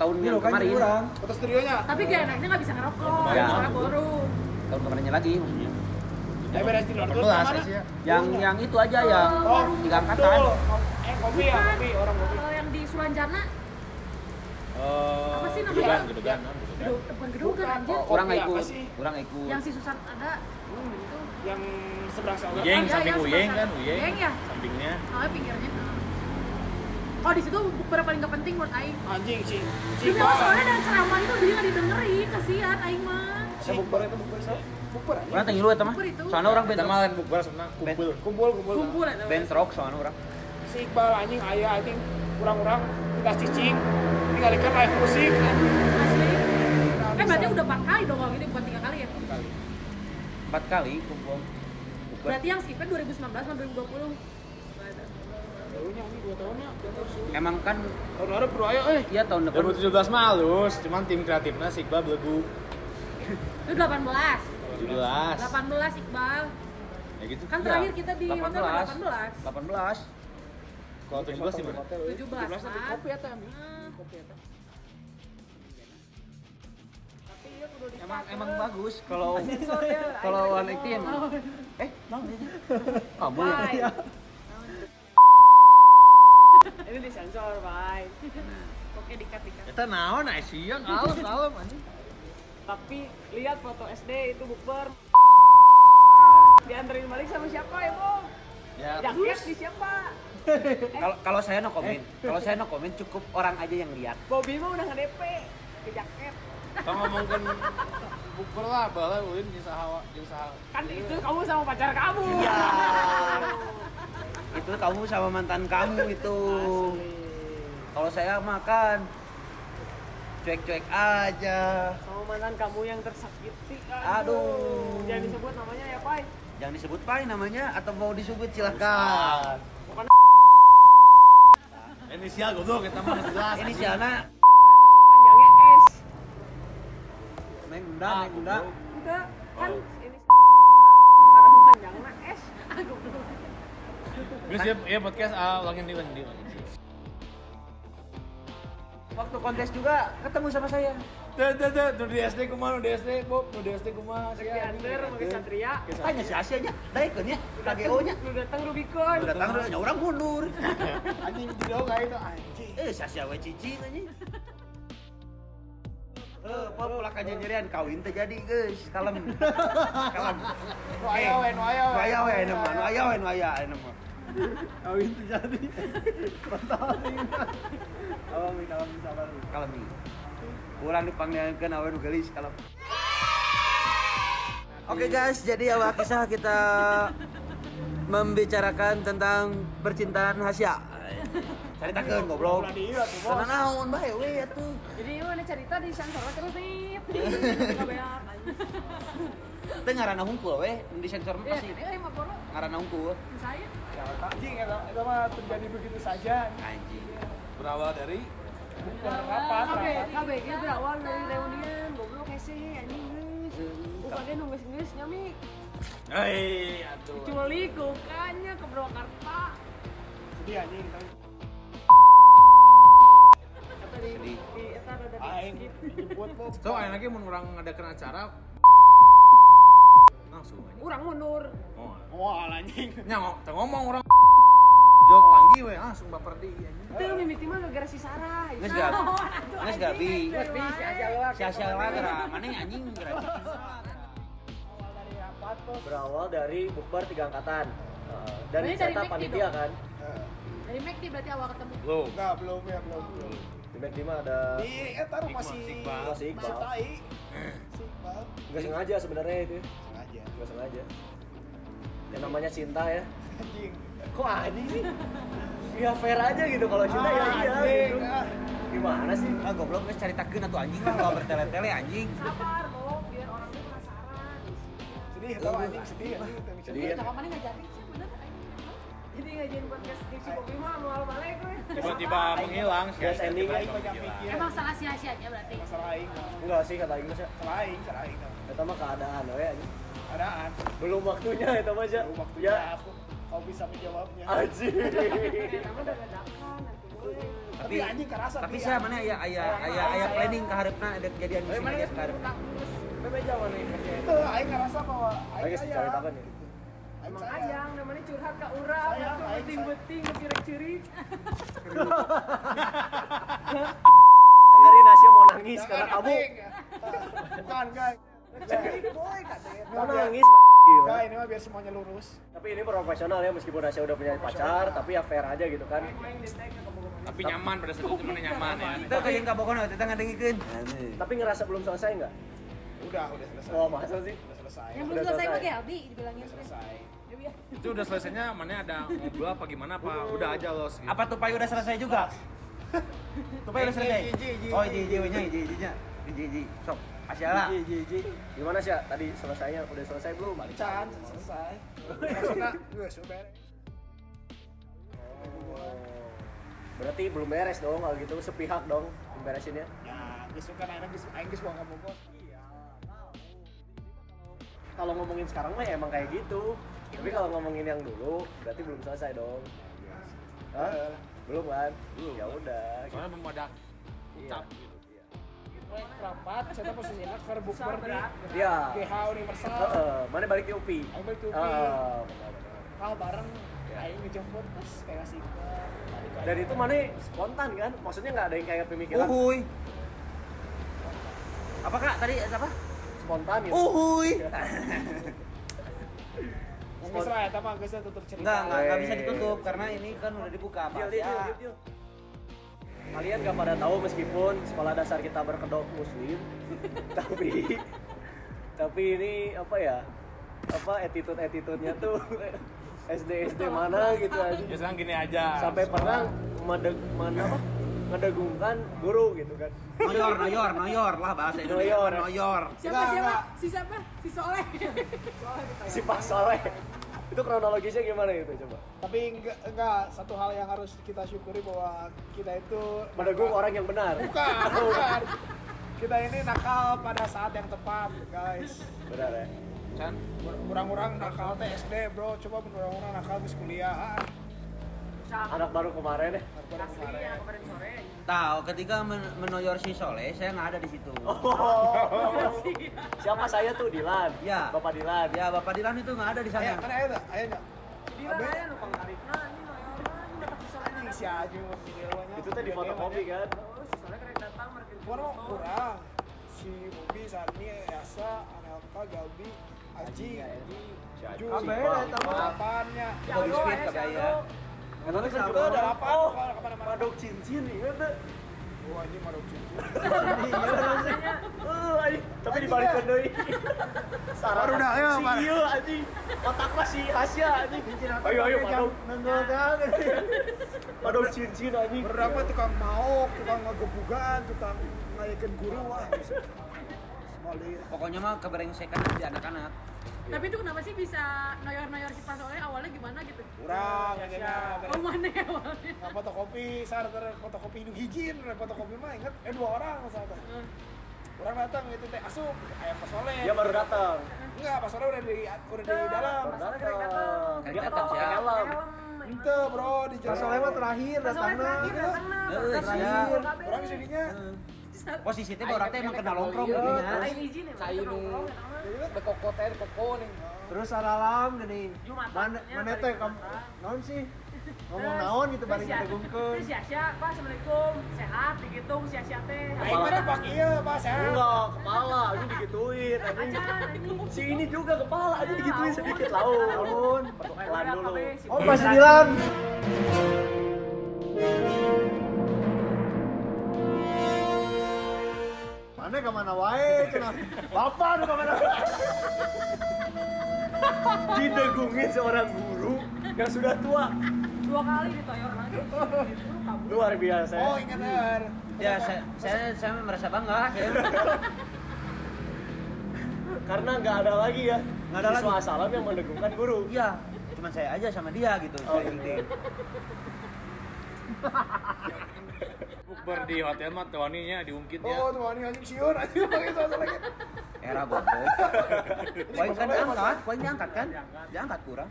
Speaker 2: tahun yang
Speaker 3: kan,
Speaker 2: kemarin.
Speaker 3: Kota studionya.
Speaker 5: Tapi gak enaknya nggak bisa ngerokok,
Speaker 2: Ya.
Speaker 5: soalnya baru.
Speaker 2: Tahun kemarinnya lagi maksudnya.
Speaker 3: Eh, beres di Northwood
Speaker 6: Betul,
Speaker 3: mana?
Speaker 6: asli sih ya.
Speaker 2: Yang yang itu aja yang
Speaker 3: Oh,
Speaker 2: tiga angkatan.
Speaker 3: betul. Eh, kopi ya, kopi, orang kopi.
Speaker 5: Kalau yang di Sulanjana,
Speaker 6: Eh,
Speaker 5: Apa sih namanya?
Speaker 3: Iya.
Speaker 6: gedugan, gedugan.
Speaker 5: gedung- bukan gedung kan aja.
Speaker 2: Kurang
Speaker 3: Kopi apa
Speaker 2: ikut,
Speaker 3: sih?
Speaker 2: kurang ikut.
Speaker 5: Yang si Susan ada,
Speaker 9: yang seberang seorang
Speaker 6: Uyeng,
Speaker 5: Oh, iya,
Speaker 6: samping
Speaker 5: iya,
Speaker 6: Uyeng
Speaker 5: seberang
Speaker 6: kan,
Speaker 5: sana.
Speaker 6: Uyeng.
Speaker 5: Uyeng ya?
Speaker 6: Sampingnya.
Speaker 5: soalnya pinggirnya eh. oh di situ bukber paling gak penting menurut Aing
Speaker 9: anjing sih
Speaker 6: Iya,
Speaker 9: si
Speaker 3: Iya.
Speaker 5: Demi Allah soalnya dan ceramah itu dia gak didengerin, kasihan Aing mah
Speaker 9: saya bukber itu bukber saya
Speaker 3: bukber aja
Speaker 2: Mana tinggi lu eta mah?
Speaker 5: Bukber itu.
Speaker 2: Soalnya orang band
Speaker 6: Kita malah bukber sama kumpul.
Speaker 3: kumpul kumpul
Speaker 5: kumpul ya teman.
Speaker 2: band rock soalnya orang.
Speaker 9: si Iqbal anjing ayah anjing kurang-kurang gas cicing tinggalkan live musik anjing
Speaker 5: Asli. Eh berarti udah empat kali dong kalau gini bukan tiga kali ya?
Speaker 2: Empat kali kumpul. Bukber.
Speaker 5: Berarti yang skipnya 2019 sama 2020
Speaker 9: Barunya anjing 2 tahunnya dia terus
Speaker 2: Emang kan
Speaker 9: tahun lalu perlu ayo eh
Speaker 2: iya tahun depan
Speaker 6: 2017 mah halus, cuman tim kreatifnya si Iqbal belagu
Speaker 5: Itu 18
Speaker 6: 17.
Speaker 5: 18 Iqbal
Speaker 6: Ya gitu.
Speaker 5: Kan terakhir
Speaker 2: Iya.
Speaker 5: kita di hotel
Speaker 2: 18.
Speaker 5: 18
Speaker 2: 18.
Speaker 6: Kalau 17 gimana?
Speaker 5: 17 kan
Speaker 9: kopi eta anjing
Speaker 5: Hmm.
Speaker 9: kopi eta
Speaker 2: Emang emang bagus kalau kalau one itu emang. Eh, bang.
Speaker 6: Ah,
Speaker 2: Kamu ya.
Speaker 5: Bye.
Speaker 4: Ini disensor, bye.
Speaker 5: Oke dikat dikat
Speaker 6: Kita naon ah siang halus halus anjing.
Speaker 4: Tapi lihat foto SD itu bukber. Dianterin balik sama siapa ya, Bom?
Speaker 6: Ya,
Speaker 4: Jaket di siapa?
Speaker 2: Kalau kalau saya no
Speaker 6: Eh.
Speaker 2: komen, kalau saya no komen cukup orang aja yang lihat.
Speaker 4: Bobby mah udah nge-DP ke jaket.
Speaker 6: kita ngomongkan bukber lah, bala ulin di sahawa, di sahawa.
Speaker 4: Kan itu kamu sama pacar kamu.
Speaker 2: Iya. Itu kamu sama mantan kamu itu. Kalau saya makan cuek-cuek aja.
Speaker 4: Sama mantan kamu yang tersakiti.
Speaker 2: Aduh.
Speaker 4: Jangan disebut namanya ya, Pai.
Speaker 2: Jangan disebut pai namanya atau mau disebut
Speaker 6: Kan.
Speaker 2: silahkan.
Speaker 6: Inisial goblok kita mah jelas.
Speaker 2: Ini si anak
Speaker 4: Panjangnya S.
Speaker 2: Neng Unda, Neng Unda.
Speaker 4: Enggak. Kan ini karena panjangnya S.
Speaker 6: Terus ya, ya podcast ah ulangin di ulangin di ulangin.
Speaker 2: Waktu kontes juga ketemu sama saya.
Speaker 6: Tuh tuh tuh, tuh di SD kumaha, di SD Bob, di SD kumaha. sia.
Speaker 4: Diantar pakai satria.
Speaker 2: Tanya si Asia nya, daekeun nya, KGO nya.
Speaker 4: Lu datang Rubicon.
Speaker 2: Udah datang udah orang mundur.
Speaker 3: anjing di dong kayak itu anjing
Speaker 2: Eh si Asia we cicing anjing. Eh, pop pula kanyanyerian kawin teh jadi geus, kalem. Kalem. Eh.
Speaker 9: nu aya we nu aya
Speaker 2: Nu
Speaker 9: we
Speaker 2: Aya we
Speaker 3: ya.
Speaker 2: aya mah, nu aya we nu aya aya mah.
Speaker 3: kawin tuh Oh, jadi kalau kalau sabar
Speaker 2: Kalem. nih. Kurang dipanggilkeun kan awe nu geulis kalem. Oke guys, jadi awal kisah kita membicarakan tentang percintaan Hasya. Ceritakeun goblok.
Speaker 3: iya
Speaker 2: Karena naon bae we ya, atuh.
Speaker 5: Jadi mana cerita di sensor terus nih Gak beak
Speaker 2: Teu ngaranna hungkul we, nu disensor mah
Speaker 5: Iya
Speaker 2: pasti
Speaker 5: kan, eh mah boro
Speaker 2: ngaranna hungkul.
Speaker 5: Saya
Speaker 9: anjing
Speaker 3: ya,
Speaker 9: eta eta mah terjadi begitu saja
Speaker 2: Anjing.
Speaker 6: Berawal dari
Speaker 9: bukber rapat
Speaker 4: Oke,
Speaker 9: rapat
Speaker 4: KBG berawal dari reunian, goblok hese anjing geus. Ku pake nu geus geus nyami
Speaker 6: Hei, aduh.
Speaker 4: diculik bukannya ke Purwakarta.
Speaker 9: sedih anjing tapi
Speaker 4: Eta di
Speaker 2: Sedih.
Speaker 4: di eta rada
Speaker 9: aing
Speaker 4: di
Speaker 9: jemput Bob
Speaker 6: So, akhirnya lagi mau orang ngadakan acara langsung aja.
Speaker 4: Urang mundur.
Speaker 6: Oh,
Speaker 9: moal anjing
Speaker 6: nyangok, teu ngomong orang jawab panggil we langsung baper di anjing.
Speaker 4: Teu mimiti mah gara-gara si Sarah.
Speaker 2: Geus gabi.
Speaker 5: Oh,
Speaker 2: Geus gabi.
Speaker 4: Bisa
Speaker 2: Si Asia lah gara mana anjing gara.
Speaker 10: Berawal dari bukber tiga angkatan. Eh, dari
Speaker 5: Ini dari
Speaker 10: cerita
Speaker 5: McD
Speaker 10: panitia
Speaker 5: dong?
Speaker 10: kan.
Speaker 5: Dari McD berarti awal ketemu
Speaker 6: Lo,
Speaker 3: enggak belum ya belum belum
Speaker 10: Di McD mah ada
Speaker 3: di eta rumah si
Speaker 6: Iqbal.
Speaker 10: si Iqbal.
Speaker 3: si tai si Iqbal
Speaker 10: nggak sengaja sebenarnya itu. ya.
Speaker 3: sengaja
Speaker 10: Nggak sengaja. Yang namanya cinta ya.
Speaker 3: anjing
Speaker 10: Kok anjing sih? Ya fair aja gitu kalau cinta ya iya
Speaker 3: anjing
Speaker 10: gitu.
Speaker 3: ah.
Speaker 10: Gimana sih?
Speaker 2: Ah goblok geus caritakeun atuh anjing lah kalau bertele-tele anjing.
Speaker 4: Sabar, goblok, biar orang tuh
Speaker 5: Iya.
Speaker 4: penasaran.
Speaker 3: sedih ya, tau anjing sedih anjing tapi
Speaker 10: Jadi
Speaker 3: sedih
Speaker 10: ya,
Speaker 5: Nah mana gak jadi sih bener Aing.
Speaker 4: Jadi ngajain podcast di si Bobi mah mual balik gue.
Speaker 6: tiba-tiba menghilang.
Speaker 10: Guys, ending
Speaker 6: tiba-tiba
Speaker 10: aing
Speaker 3: banyak
Speaker 6: menghilang.
Speaker 3: pikir
Speaker 5: Emang salah si Asia-nya berarti
Speaker 3: masalah aing
Speaker 10: enggak sih kata Inggris ya.
Speaker 3: masalah aing masalah aing tau.
Speaker 10: Itu mah keadaan oh ya. anjing.
Speaker 3: adaan
Speaker 10: Belum waktunya itu mah ya.
Speaker 3: baru waktunya
Speaker 10: Ya.
Speaker 3: aku kau bisa menjawabnya
Speaker 10: Anjing.
Speaker 4: Eh, Kamu udah dadakan nanti gue.
Speaker 3: tapi
Speaker 9: Iya.
Speaker 2: Tapi-
Speaker 3: anjing kerasa
Speaker 2: Tapi
Speaker 3: dia.
Speaker 2: saya mana ya, aya aya aya aya planning ke hareup-na ada kejadian
Speaker 10: Eh,
Speaker 2: musim
Speaker 10: mana
Speaker 2: aja
Speaker 10: geus
Speaker 2: sekarang.
Speaker 10: Bebe jaman nih.
Speaker 3: itu aing ngerasa bahwa aing
Speaker 10: Lagi
Speaker 3: sayang.
Speaker 10: ceritakan ya.
Speaker 3: Aing
Speaker 4: Emang
Speaker 3: sayang.
Speaker 4: ayang namanya curhat ke urang,
Speaker 3: Sayang,
Speaker 4: aku
Speaker 3: sayang.
Speaker 4: beting-beting, ngecirik-cirik.
Speaker 10: Dengerin Asia mau nangis
Speaker 3: Jangan,
Speaker 10: karena kamu
Speaker 3: anjing. Bukan, guys.
Speaker 10: mau nangis.
Speaker 3: ya, enggak ini mah biar semuanya lurus
Speaker 4: Tapi ini profesional ya meskipun Rasya udah punya pacar, tapi ya fair aja gitu kan.
Speaker 6: Tapi nyaman pada saat itu mana nyaman ya.
Speaker 2: Itu kayak nggak pokoknya kita nggak dengerin.
Speaker 4: Tapi ngerasa belum selesai nggak?
Speaker 3: udah udah selesai
Speaker 4: Oh masa sih?
Speaker 3: udah selesai
Speaker 5: Yang
Speaker 4: Udah
Speaker 5: belum selesai
Speaker 4: selesai.
Speaker 5: pakai Aldi dibilangin.
Speaker 3: selesai
Speaker 5: Dewi ya.
Speaker 6: Itu udah selesainya mana ada ngobrol apa gimana apa udah aja los gitu.
Speaker 2: Apa tupai udah selesai juga? tupai udah selesai. Oh, iji iji iji iji iji nya. Iji iji. Sok. Asyala.
Speaker 4: Ji, ji, ji. Gimana sih tadi selesainya? Udah selesai belum? Balik.
Speaker 3: can selesai maksudnya gue sudah beres
Speaker 4: Oh. Berarti belum beres dong kalau gitu sepihak dong beresinnya.
Speaker 3: ya gue suka anak gue aing gue mau ngomong bos
Speaker 4: Kalau ngomongin sekarang mah ya emang kayak gitu. Tapi kalau ngomongin yang dulu berarti belum selesai dong. Hah? Belum kan?
Speaker 2: Iya,
Speaker 4: Ya udah.
Speaker 6: Soalnya belum ada ucap gitu.
Speaker 11: rapat, saya posisinya ke bukber di
Speaker 4: Ya.
Speaker 11: GH Universal.
Speaker 4: Heeh, Eh, mana balik ke UPI?
Speaker 11: Aing balik ke UPI.
Speaker 4: Ah, benar-benar.
Speaker 11: Kal bareng, Aing ngejemput terus kayak ngasih
Speaker 4: Iya. Dan itu mana spontan kan? Maksudnya nggak ada yang kayak pemikiran
Speaker 2: Uhuy. Apa kak tadi apa?
Speaker 4: spontan gitu.
Speaker 2: Uhuy.
Speaker 11: Nggak serah ya, tapi nggak tutup cerita.
Speaker 2: Enggak, enggak, enggak
Speaker 4: Eh.
Speaker 2: bisa ditutup karena ini kan udah dibuka
Speaker 4: Deal,
Speaker 2: Pak.
Speaker 4: deal, deal, deal, deal. Kalian gak pada tahu meskipun sekolah dasar kita berkedok muslim, tapi tapi ini apa ya? Apa attitude attitude-nya tuh SD SD mana gitu aja.
Speaker 6: Ya sekarang gini aja.
Speaker 4: Sampai pernah medeg mana apa? Ngedegungkan guru gitu kan.
Speaker 2: Noyor, noyor, noyor lah bahasa Indonesia.
Speaker 4: Noyor.
Speaker 2: Noyor.
Speaker 5: Siapa siapa? Si siapa? Si Soleh.
Speaker 4: Si Pak Soleh. Itu kronologisnya gimana itu coba?
Speaker 3: tapi enggak, enggak satu hal yang harus kita syukuri bahwa kita itu
Speaker 4: Menegung
Speaker 3: nakal-
Speaker 4: orang yang benar.
Speaker 3: bukan bukan kita ini nakal pada saat yang tepat guys
Speaker 4: Benar ya.
Speaker 6: Chan,
Speaker 3: orang-orang nakal teh SD bro coba orang-orang nakal di kuliah
Speaker 4: Anak baru kemarin ya.
Speaker 5: Asli ya kemarin sore.
Speaker 2: Tahu ketika men- menoyor si Soleh, saya nggak ada di situ.
Speaker 4: Oh. Siapa saya tuh Dilan?
Speaker 2: Ya.
Speaker 4: Bapak Dilan.
Speaker 2: Ya, Bapak Dilan itu nggak ada di
Speaker 3: ayo
Speaker 2: sana.
Speaker 3: kan ayo dah, ayo dah.
Speaker 5: Dia raya lu Bang Karik. Nah, ini loh. Ini dapat si Soleh.
Speaker 3: Ini si Aji mau video nya.
Speaker 4: Itu tadi fotokopi kan?
Speaker 5: Oh, si Soleh keren datang mereka.
Speaker 3: Warna kurang. Si Bobi, Sani, Yasa, Anelka, Galbi, Aji, Ju,
Speaker 4: ya, Aji.
Speaker 3: ada delapannya.
Speaker 2: Bobby Smith kata ya.
Speaker 4: Katanya kan
Speaker 3: Itu ada delapan.
Speaker 4: Oh,
Speaker 3: Kemana-mana.
Speaker 4: Madok cincin ingat tuh.
Speaker 3: Oh, Aji maruk cucu.
Speaker 4: Eh, anjing. tapi dibalik
Speaker 3: Anjing,
Speaker 4: deui. Sarang.
Speaker 3: Baru dah, ya,
Speaker 4: Si
Speaker 3: Pak.
Speaker 4: ieu anjing. Otakna si Asia anjing. Ayo ayo madok. Madok cincin anjing.
Speaker 3: Berapa tukang maok, tukang ngegebugan, tukang ngayakin guru wah. Malir.
Speaker 2: Pokoknya mah keberengsekan di anak-anak.
Speaker 5: Tapi itu kenapa sih bisa noyor-noyor si Pak Soleh awalnya gimana gitu?
Speaker 3: Kurang, kayaknya.
Speaker 5: Oh, mana ya awalnya?
Speaker 3: Nggak fotokopi, sar ter fotokopi nu hijin, re fotokopi mah inget eh dua orang misalkan. Orang datang itu teh asup, ayah pas soleh.
Speaker 4: Dia Iya, baru datang.
Speaker 3: Enggak, pas soleh udah di udah di dalam.
Speaker 4: Baru
Speaker 5: Oh,
Speaker 4: datang.
Speaker 2: Keren
Speaker 4: Dia
Speaker 2: datang,
Speaker 4: ketawa
Speaker 2: siap.
Speaker 4: helm.
Speaker 3: Ente bro, di jalan.
Speaker 8: Soalnya mah terakhir
Speaker 5: Pas Soleh
Speaker 8: datang
Speaker 5: terakhir datang nah.
Speaker 2: Eh, siap.
Speaker 3: Orang jadinya
Speaker 4: Hmm.
Speaker 2: Posisi itu orang teh emang kena longkrong gitu
Speaker 8: Iya,
Speaker 2: nya.
Speaker 5: Lain izin ya, Bang.
Speaker 11: Cai nu.
Speaker 5: Nongkrong, ya, Bang.
Speaker 11: Bekoko teh, bekoko nih.
Speaker 8: Terus aralam gini.
Speaker 5: Jumatan,
Speaker 8: Mana
Speaker 5: ya,
Speaker 8: mana
Speaker 5: balik
Speaker 8: teh kamu
Speaker 5: Jumatan.
Speaker 8: naon sih? Ngomong
Speaker 5: Terus-
Speaker 8: naon gitu
Speaker 5: terus
Speaker 8: bari
Speaker 5: ya-
Speaker 8: ngedegungkeun.
Speaker 5: Terus ya Sya, Pak Assalamualaikum, sehat, digitung si Asya teh.
Speaker 3: Aing mah pak iya, Pak sehat.
Speaker 4: Enggak, kepala anjing digituin anjing.
Speaker 5: Acan, anjing.
Speaker 4: Si ini juga kepala aja digituin sedikit laun. Pelan
Speaker 5: Ada apa,
Speaker 4: dulu.
Speaker 5: Be? Si
Speaker 8: Oh, pas bilang. Mana kemana wae cenah. Bapak nu kemana wae.
Speaker 4: Didegungin seorang guru yang sudah tua.
Speaker 5: Dua kali ditoyor lagi. Lu kabur.
Speaker 4: Luar biasa. ya.
Speaker 3: Oh, ingat er.
Speaker 2: Ya, saya, saya, saya merasa bangga akhirnya.
Speaker 4: Karena nggak ada lagi ya.
Speaker 2: Nggak ada
Speaker 4: Siswa
Speaker 2: lagi.
Speaker 4: asalam yang mendegungkan guru.
Speaker 2: Iya, cuma saya aja sama dia gitu.
Speaker 4: Oh,
Speaker 2: saya inti.
Speaker 6: bukber di hotel mah tuaninya diungkit
Speaker 4: Iya.
Speaker 6: ya.
Speaker 3: Oh, tuh ini anjing siun anjing pakai soal lagi.
Speaker 2: Era bobo. Poin kan diangkat, poin diangkat kan? Diangkat kurang.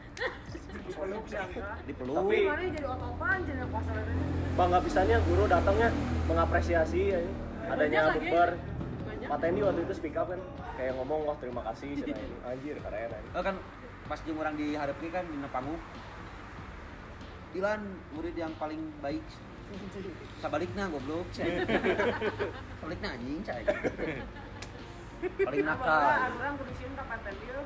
Speaker 2: Dipeluk.
Speaker 4: Tapi
Speaker 5: Kemarin jadi otopan, jadi puasa lagi.
Speaker 4: bangga pisannya guru datangnya mengapresiasi ya. adanya
Speaker 5: Banyak lagi.
Speaker 4: bukber.
Speaker 5: Banyak.
Speaker 4: Pak Tendi waktu itu speak up kan kayak ngomong wah terima kasih cina ini anjir keren anjing.
Speaker 2: Oh kan pas jeung urang dihareukeun kan di panggung. Dilan murid yang paling baik. Sabalikna goblok. Sabalikna anjing cai. paling nakal
Speaker 5: Bapak, orang kudu cinta paten dia.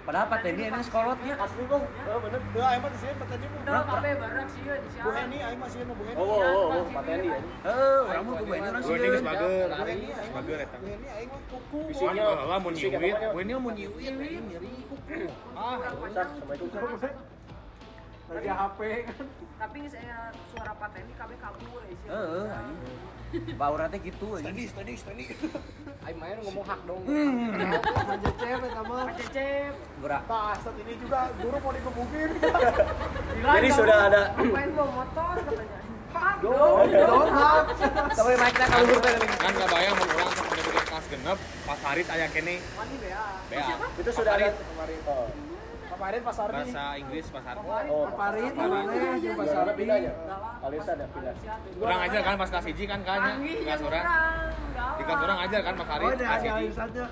Speaker 2: padahal patennya ini sekolotnya
Speaker 4: Asli bang, oh, bener.
Speaker 3: Tuh, ayo mah di sini petani mah.
Speaker 5: Udah, kabeh bareng sih ya di sana.
Speaker 3: Bu Heni, ayo mah sih Bu Heni.
Speaker 4: Oh, oh, oh, oh, pateni ya.
Speaker 2: eh orang mau kebanyakan orang sih
Speaker 6: Gue sebagai
Speaker 3: Bu
Speaker 6: lari,
Speaker 3: Heni, ayo mah.
Speaker 6: sebagai
Speaker 3: Bu Heni, ayo mah kuku.
Speaker 6: Fisiknya, lah mau
Speaker 4: Fisik
Speaker 6: nyiwit,
Speaker 4: apa, ya?
Speaker 6: gue ini mau nyiwit, ini nyeri.
Speaker 4: Rusak, Assalamualaikum.
Speaker 3: Kerja HP kan.
Speaker 5: Tapi saya suara paten ini kabeh kabur ya sih.
Speaker 2: eh anjing Pak Uratnya gitu aja
Speaker 4: Ayo main ngomong hak dong.
Speaker 12: Lanjut cewek sama.
Speaker 5: Cecep.
Speaker 2: gerak
Speaker 3: Nah, saat ini juga guru mau dikebukin.
Speaker 4: Jadi sudah ada.
Speaker 5: Main bawa motor katanya. Hah,
Speaker 2: tapi naiknya kalau gue
Speaker 6: Kan gak bayang mau pulang sama dia bikin kelas genep, pas hari ayah kene. Bea.
Speaker 4: Itu sudah ada kemarin. Oh,
Speaker 3: Kemarin Pak Sardi.
Speaker 6: Bahasa Inggris, bahasa
Speaker 4: oh.
Speaker 12: Parit, mana? Jeung
Speaker 4: Pas
Speaker 12: pasar
Speaker 4: ada pindahnya. Alis ada pindah.
Speaker 6: Kurang aja kan pas kelas hiji kan kayaknya.
Speaker 5: Canggih
Speaker 6: Kelas
Speaker 5: yang
Speaker 6: orang.
Speaker 5: orang.
Speaker 6: Di kelas orang aja kan pas hari
Speaker 12: Oh, dah
Speaker 6: kelas
Speaker 12: ada
Speaker 6: hiji.
Speaker 12: satu.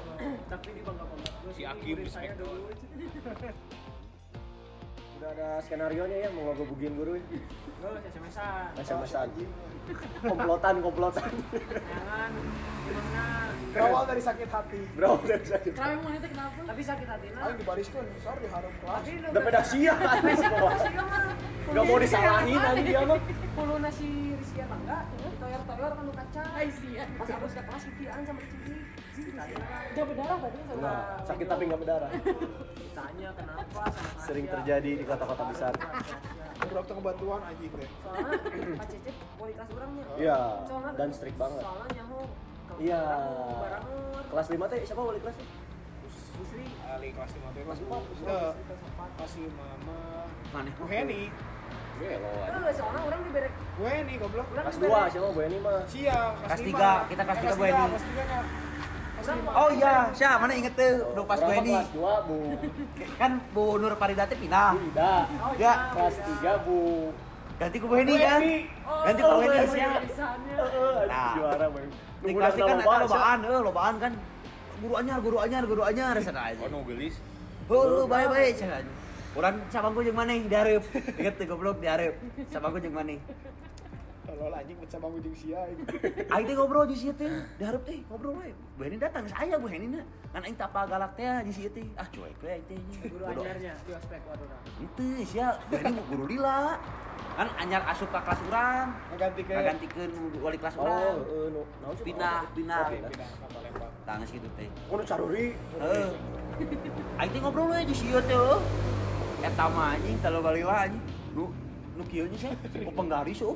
Speaker 6: Si Aki respect.
Speaker 4: Udah ada skenario nya ya mau ngebukin guru ya. SMS-an. Komplotan, komplotan.
Speaker 5: Jangan. Gimana?
Speaker 3: Berawal dari sakit hati.
Speaker 4: Bro, udah bisa gitu.
Speaker 5: Kenapa mau itu kenapa? Tapi sakit hati
Speaker 3: Ayo dibariskan, sorry diharap kelas.
Speaker 4: Udah pada siap. Gak mau disalahin nanti dia mah.
Speaker 5: Pulu nasi Rizky Tangga, toyor-toyor kan lu kaca. Pas harus ke kelas kutian sama Cici. Udah berdarah tadi sama.
Speaker 4: Nah, sakit tapi nggak berdarah.
Speaker 5: Tanya kenapa sama
Speaker 4: Sering terjadi di kota-kota besar.
Speaker 3: Beberapa tengah bantuan anjing deh.
Speaker 5: Soalnya Pak Cecep kualitas orangnya.
Speaker 4: Iya.
Speaker 5: Soalnya-
Speaker 4: Dan strict banget.
Speaker 5: Soalnya nyaho. kalau
Speaker 4: Iya.
Speaker 5: barang- barang-
Speaker 4: Kelas 5 teh siapa wali kelas?
Speaker 5: Busri.
Speaker 3: Ali kelas lima tuh. Kelas
Speaker 4: Heeh.
Speaker 3: Kasih mama.
Speaker 2: mana
Speaker 3: Bu Heni,
Speaker 5: Eh, soalnya orang diberek.
Speaker 3: Bu Heni goblok.
Speaker 5: orang
Speaker 4: Kelas
Speaker 5: diberek-
Speaker 4: 2 siapa Bu Eni mah?
Speaker 3: Siang,
Speaker 2: Kelas
Speaker 3: lima.
Speaker 2: tiga, kita kelas
Speaker 3: Eh,
Speaker 2: tiga, Bu
Speaker 3: tiga,
Speaker 2: Heni.
Speaker 3: Kelas tiga nya.
Speaker 2: oh iya siapa mana inget tuh udah pas gue
Speaker 4: Berapa
Speaker 2: ini
Speaker 4: Kelas 2 Bu
Speaker 2: kan Bu Nur Paridati pindah
Speaker 5: Oh,
Speaker 4: Ida.
Speaker 5: iya,
Speaker 2: ya
Speaker 4: Kelas 3 Bu.
Speaker 2: ganti ke Bu Heni kan
Speaker 5: Oh,
Speaker 2: ganti ke Bu Heni
Speaker 5: iya, tulisannya.
Speaker 4: Heeh, aduh,
Speaker 2: Nah.
Speaker 4: juara Bu.
Speaker 2: di
Speaker 4: Nunggu
Speaker 2: kelas
Speaker 4: udah
Speaker 2: kan ada
Speaker 4: lama banget, Sa.
Speaker 2: lobaan eh lobaan kan guru anyar guru anyar guru anyar sana aja
Speaker 6: Oh, no gelis.
Speaker 2: Oh, baik baik cara aja. Orang cabangku jeung maneh dihareup. Ingat teu goblok dihareup. Cabangku jeung maneh.
Speaker 3: Kalau anjing pecah bangun jeung sia. anjing.
Speaker 2: Aing teh ngobrol di sieu teh, dihareup teh ngobrol we. Bu Heni datang saya Bu Heni na. Kan aing tapa galak teh di sieu teh. Ah cuek we aing teh.
Speaker 5: Guru ajarnya di ospek waduh. nah.
Speaker 2: Itu sia Bu Heni mau guru lila. Kan anyar asup ka kelas urang.
Speaker 3: Ngagantikan.
Speaker 2: Ngagantikan wali kelas
Speaker 4: Oh,
Speaker 2: urang.
Speaker 4: heeh, no. Naon sih?
Speaker 2: Pindah, pindah.
Speaker 4: Oke, pindah.
Speaker 2: Tangis gitu teh.
Speaker 4: Kudu caruri.
Speaker 2: Heeh. Eh. Aing teh ngobrol we di sieu teh. oh. Eta mah anjing teu balik anjing. Nu nu kieu nya sih, ku penggaris oh.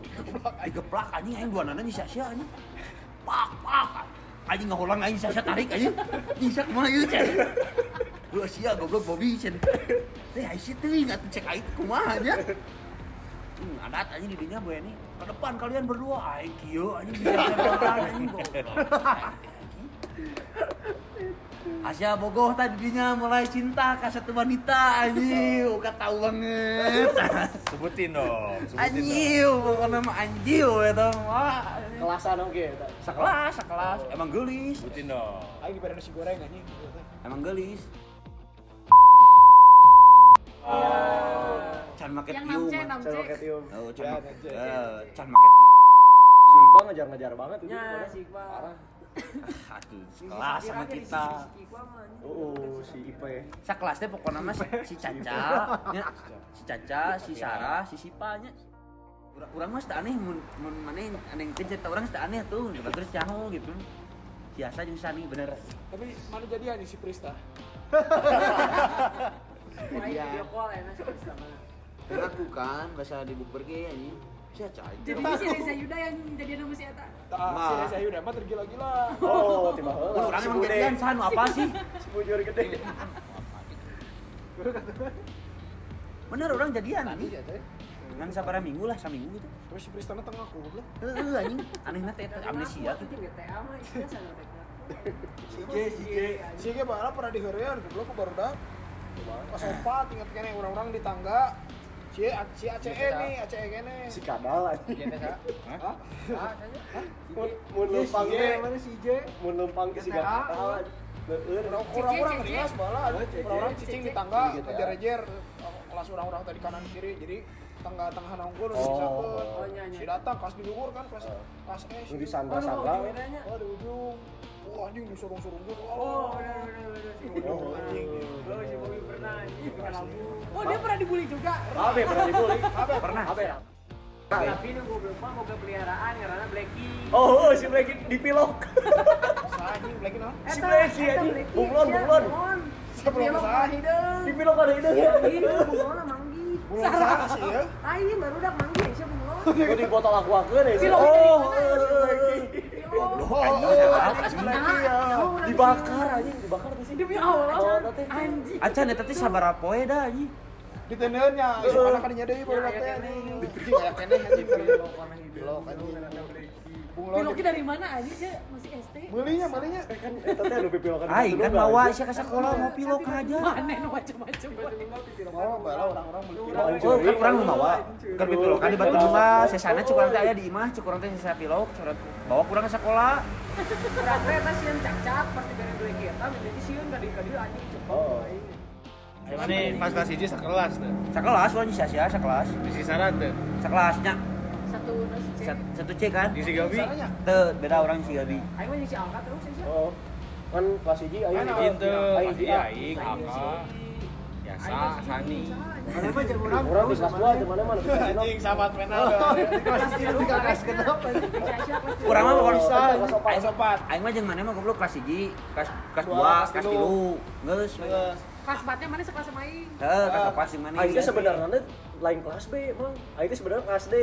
Speaker 2: Digeplak anjing aing duanana nyisa sia anjing. Pak pak. Anjing ngaholang aing sia tarik anjing. Nyisa kemana ieu cen? Gua sia goblok Bobby cen. Teh aing sia teuing atuh cek aing kumaha nya. Hmm, adat anjing di dinya Bu Eni. Ke depan kalian berdua aing kieu anjing bisa jalan anjing goblok. Asia Bogoh tadinya mulai cinta ke satu wanita anjing, gak tahu banget.
Speaker 6: Sebutin dong. Sebutin dong.
Speaker 2: Anjing, pokoknya mah anjing eta mah.
Speaker 4: Kelasan oke. eta.
Speaker 2: Sekelas, sekelas. Emang gelis,
Speaker 6: Sebutin dong.
Speaker 3: Aing diberi nasi goreng anjing.
Speaker 2: emang gelis. Can make
Speaker 5: Yang
Speaker 2: tiu.
Speaker 5: 6C,
Speaker 2: mah.
Speaker 5: 6C.
Speaker 4: Saya pakai tiup.
Speaker 2: Oh, can
Speaker 3: Ya,
Speaker 2: make
Speaker 3: Namce.
Speaker 2: eh, can make tiu.
Speaker 4: Si Iqbal ngejar-ngejar banget itu.
Speaker 5: Ya,
Speaker 4: gimana?
Speaker 5: si Iqbal.
Speaker 4: Parah.
Speaker 2: Ah, Aduh, sekelas sama kita.
Speaker 4: Oh, si Ipe.
Speaker 2: Sekelas teh pokoknya mah si- si Caca, nya, si Caca, si Sarah, si Sipanya. Urang mah sudah aneh, mun mun maneh aneh teh cerita urang sudah aneh tuh, terus caho gitu. Biasa jeung Sani bener.
Speaker 3: Tapi mana jadi anjing si Prista?
Speaker 5: Video call enak sih sama.
Speaker 2: Dan aku kan bahasa di bukber ge ini Caca.
Speaker 5: Jadi si Reza Yuda yang jadi nama si Eta.
Speaker 3: Tak, si
Speaker 2: Nah.
Speaker 3: Reza Yuda mah tergila-gila.
Speaker 4: Oh, tiba
Speaker 2: Mun
Speaker 4: heula.
Speaker 2: urang
Speaker 4: Si
Speaker 2: emang
Speaker 4: Bude.
Speaker 2: jadian San apa sih?
Speaker 4: Si Bujur gede.
Speaker 2: Bener orang jadian anjing. Ngan sabara minggu lah, saminggu gitu.
Speaker 3: Tapi si Prista mah tengah goblok.
Speaker 2: Heeh anjing, anehna teh teh amnesia gitu.
Speaker 5: Aku tuh GTA mah isinya sangat dekat. Oh,
Speaker 3: Sige, sige. Sige bahala pernah diheureun goblok ku baru dah.
Speaker 4: Eh.
Speaker 3: Pas opat ingat kene orang-orang di tangga. Si si ACE
Speaker 11: E
Speaker 3: nih, ACE kene.
Speaker 4: Si kadal. anjing.
Speaker 3: Hah?
Speaker 4: Mun mun lempang
Speaker 3: Sige.
Speaker 4: ge.
Speaker 3: Mana si J?
Speaker 4: Mun lempang ke si kadal. Heeh.
Speaker 3: Orang-orang
Speaker 5: Cije,
Speaker 3: rias bahala.
Speaker 4: Cije.
Speaker 3: Orang-orang cicing di
Speaker 5: Cije.
Speaker 3: tangga
Speaker 4: Gitu ya.
Speaker 3: ngejar-ngejar kelas orang-orang tadi kanan kiri. Jadi
Speaker 11: tangga tangga nongkol
Speaker 4: Oh.
Speaker 5: Oh, nya, nya.
Speaker 11: si datang kelas di luhur kan kelas kelas S
Speaker 4: Yang di sandra-sandra.
Speaker 5: Aduh, bedanya.
Speaker 11: oh di ujung wah anjing disorong-sorong gue
Speaker 7: Oh,
Speaker 5: iya.
Speaker 7: benar benar benar si Bobi
Speaker 11: Oh, anjing.
Speaker 7: pernah. Oh, si Bobi pernah anjing bikin lagu.
Speaker 5: Oh, dia pernah dibully juga.
Speaker 4: Abe pernah dibully. Abe pernah. Abe.
Speaker 7: Tapi nu goblok mah boga peliharaan
Speaker 5: ya,
Speaker 7: karena Blacky.
Speaker 4: Oh, oh, si Blacky dipilok.
Speaker 11: anjing lagi nah
Speaker 4: Si Blacky
Speaker 5: Eta
Speaker 4: anjing.
Speaker 5: Blacky,
Speaker 4: Bunglon,
Speaker 5: iya,
Speaker 4: bunglon.
Speaker 5: bunglon.
Speaker 11: Siapa
Speaker 5: Dia
Speaker 11: yang
Speaker 5: mah
Speaker 11: salah?
Speaker 5: hideung.
Speaker 4: Dipilok ada idenya.
Speaker 5: Iya, bunglon sama manggi.
Speaker 11: pulang sana sih
Speaker 4: Iya.
Speaker 11: ya
Speaker 5: Ah, ini baru udah manggi, siapa bunglon?
Speaker 4: Itu di botol aku aku nih.
Speaker 5: Pilok ini
Speaker 4: Oh,
Speaker 5: gimana ya, si
Speaker 11: oh
Speaker 4: goblok.
Speaker 11: anjing lagi ya
Speaker 5: Nah,
Speaker 4: Dibakar anjing, dibakar di sini.
Speaker 5: Demi Allah,
Speaker 4: Oh,
Speaker 5: Chan.
Speaker 4: nanti.
Speaker 5: anjing.
Speaker 2: Acan ya tadi sabar apoe dah anjing.
Speaker 11: di tendernya
Speaker 4: Oh.
Speaker 11: isu anak kan nyadai baru datang anjing anjing kayak kene anjing blok anjing bunglon
Speaker 5: Piloki dari mana aja dia masih SD?
Speaker 11: belinya belinya
Speaker 4: Kan Eta teh anu pipilokan.
Speaker 2: Aing kan bawa sih ke sekolah mau pilok aja.
Speaker 5: Mana nu macam-macam.
Speaker 11: mau bala orang-orang beli
Speaker 2: Oh, kan kurang nu bawa. Kan pilok kan di Batu Bunga, sesana cukup teh aya di imah, cukup teh sesa pilok, curang bawa kurang ke sekolah.
Speaker 5: Kurang teh eta sieun cacat pasti bere dua kita menjadi sieun ka dieu ka dieu anjing
Speaker 4: Oh,
Speaker 5: cepet.
Speaker 6: Ini pas kelas hiji sakelas tuh.
Speaker 2: Sekelas wanya sia-sia sekelas.
Speaker 6: Bisi saran tuh.
Speaker 2: Sekelasnya
Speaker 5: Satu nasi cek.
Speaker 2: Sat- satu C kan?
Speaker 6: Di si Gabi.
Speaker 2: Teu beda orang si Gabi.
Speaker 5: Aing mah nyisi angkat terus sih.
Speaker 4: Oh. Kan kelas hiji aing.
Speaker 6: Kan izin tuh.
Speaker 4: Aing
Speaker 6: Pasti
Speaker 4: hiji, ah.
Speaker 6: aing, kakak. Biasa, Sani.
Speaker 4: Orang di kelas 2 di mana-mana di kasino.
Speaker 6: Anjing sahabat penal.
Speaker 2: Kurang mah bukan
Speaker 4: bisa.
Speaker 2: Aing Aing mah jeung mana mah goblok kelas 1, kelas kelas 2, kelas 3. Geus.
Speaker 5: Kelas empatnya mana sekelas sama Aing?
Speaker 2: Heuh, kelas 4 sing mana?
Speaker 4: Iya. Aing teh sebenarnya teh lain kelas B, Mang. Aing teh sebenarnya kelas D.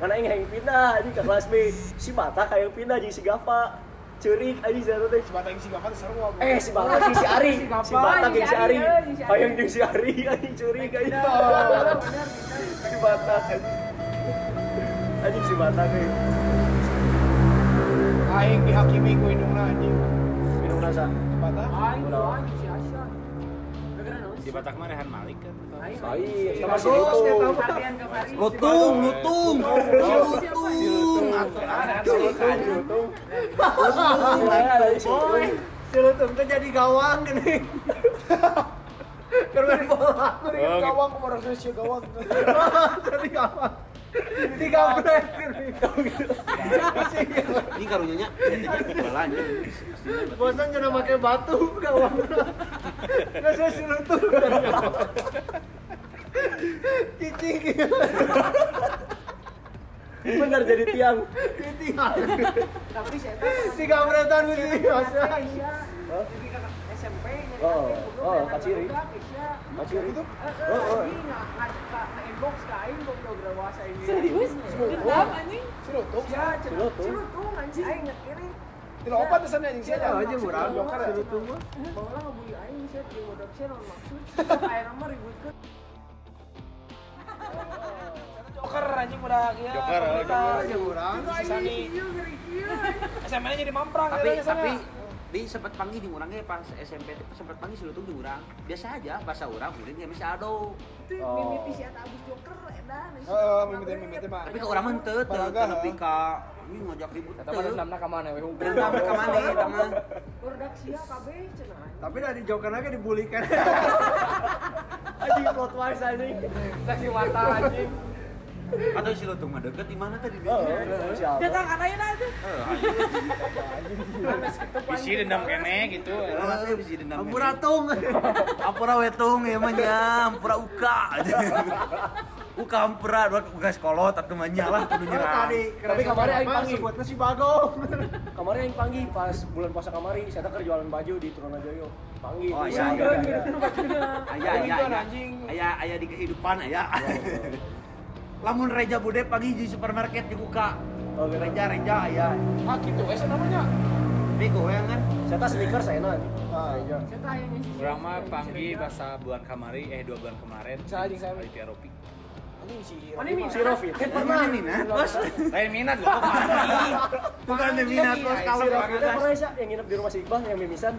Speaker 4: Karena aing yang pindah anjing ke kelas B. Si Bata kayak pindah jadi si Gafa. Ceurik anjing jatuh teh.
Speaker 11: si batang si gapan sarua
Speaker 4: Eh si Bata jeung si Ari. Si Bata jeung si Ari.
Speaker 5: jeung si Ari.
Speaker 4: Hayang jeung si Ari anjing ceurik anjing. Si Bata anjing. Anjing si Bata teh.
Speaker 11: aing dihakimi ku hidungna anjing ah.
Speaker 4: Minum rasa.
Speaker 11: batang
Speaker 8: Ah,
Speaker 5: Aing doang anjing si Asya. Gara-gara naon
Speaker 6: Di
Speaker 5: sih?
Speaker 6: Batak mah Rehan Malik kan.
Speaker 5: Aing
Speaker 4: Baik, sama si
Speaker 11: Bagus,
Speaker 4: Lutung.
Speaker 11: eta
Speaker 5: Partian ke Paris.
Speaker 2: Lutung,
Speaker 4: Iya.
Speaker 2: lutung.
Speaker 5: Lutung.
Speaker 2: Lutung.
Speaker 4: Si Lutung, si Lutung. Lutung, anjing, si Lutung.
Speaker 8: iya,
Speaker 11: Mendingan gawang ku baru sih gawang
Speaker 2: Ini karunya nya.
Speaker 4: Iya,
Speaker 2: Bola anjing.
Speaker 8: bosan jangan pakai batu kawan nggak saya suruh tuh cicing
Speaker 4: Benar jadi tiang.
Speaker 5: Tapi si Eta pernah-
Speaker 8: si kabretan gitu
Speaker 5: Asya.
Speaker 8: Asya.
Speaker 5: Iya, Jadi kakak SMP nya
Speaker 4: Oh,
Speaker 5: kakak
Speaker 4: oh, kaciri.
Speaker 5: budak, Asya.
Speaker 4: Macir itu.
Speaker 5: Eh, eh, anjing, nggak- nggak- nggak nge-inbox ke Aing, kok udah bahasa ini. Serius?
Speaker 11: Dendam,
Speaker 5: anjing?
Speaker 11: suruh tuh
Speaker 8: Iya,
Speaker 5: Ya, celut
Speaker 4: Celutung.
Speaker 5: celutung anjing. Aing ngekirim.
Speaker 11: tidak opat sana anjing sih
Speaker 8: iya, aja murah
Speaker 11: Dokter, ya.
Speaker 8: suruh tuh
Speaker 5: Bawa ngebully Aing, sih, di bodoh sih, non maksud. Aing nama ributkeun.
Speaker 11: joker anjing udah ya
Speaker 6: Joker, oh,
Speaker 11: pemerintah.
Speaker 8: aja murah
Speaker 11: si Sani
Speaker 5: Iya, ngeri kieu, anjing.
Speaker 11: SMA nya jadi mamprang
Speaker 2: tapi
Speaker 4: iya,
Speaker 11: katanya ya? sana.
Speaker 2: tapi di sempat panggil di urang ge pas SMP teh sempat panggil si Lutung di urang. Biasa aja bahasa urang murid ge misi ado.
Speaker 5: Itu mimpi si Eta abis joker, edan.
Speaker 11: Heeh, mimiti mimiti mah.
Speaker 2: Tapi ke urang mah teu teu
Speaker 11: Paraga,
Speaker 2: teu nepi ka ini ngajak ribut. Eta mah dendamna ka mana we? Dendamna ka mana eta mah?
Speaker 5: Bordak sia kabeh cenah anjing.
Speaker 8: tapi dari joker lagi dibully kan
Speaker 4: Anjing plot wise anjing.
Speaker 8: kasih mata anjing
Speaker 2: Atau si Lutung mah deket di mana tadi?
Speaker 4: Oh, siapa?
Speaker 5: Datang kan Aina itu.
Speaker 6: Bisi dendam kene gitu.
Speaker 2: Heeh, bisi dendam.
Speaker 8: murah tung
Speaker 2: Ampura wetung ya mah nya, ampura uka. Uka ampura dua uga sekolot atuh mah nya lah kudu nyerang.
Speaker 8: tadi
Speaker 4: Tapi kabarnya aing panggil.
Speaker 8: sebutnya si bagong
Speaker 4: Kemarin yang panggil pas bulan puasa kemarin, saya tuh jualan baju di Trunajoyo. Panggil.
Speaker 2: Oh,
Speaker 4: Terus
Speaker 2: iya,
Speaker 4: ada-
Speaker 2: iya,
Speaker 4: ada-
Speaker 2: Ayah, ayah, ayah, ayah, ayah di kehidupan ayah. Lamun Reja Bude pagi di supermarket dibuka.
Speaker 4: Oh, gitu.
Speaker 2: Reja, Reja, ayah.
Speaker 11: Ah gitu, eh namanya.
Speaker 2: Ini goyang kan?
Speaker 4: Saya tuh sneakers saya nanti. Ah, iya.
Speaker 6: Urang mah panggil bahasa bulan kamari eh dua bulan kemarin.
Speaker 11: Saya anjing, saya.
Speaker 6: Panitia Ropi.
Speaker 11: Anjing si
Speaker 5: Mana Oh, ini?
Speaker 4: Si Rofi.
Speaker 2: Pernah ini nah, bos.
Speaker 6: Lain minat gua kok panggil.
Speaker 2: Bukan demi minat bos kalau
Speaker 4: Si Rofi teh
Speaker 2: pernah.
Speaker 4: pernah Sa, yang nginep di rumah si Iqbal yang mimisan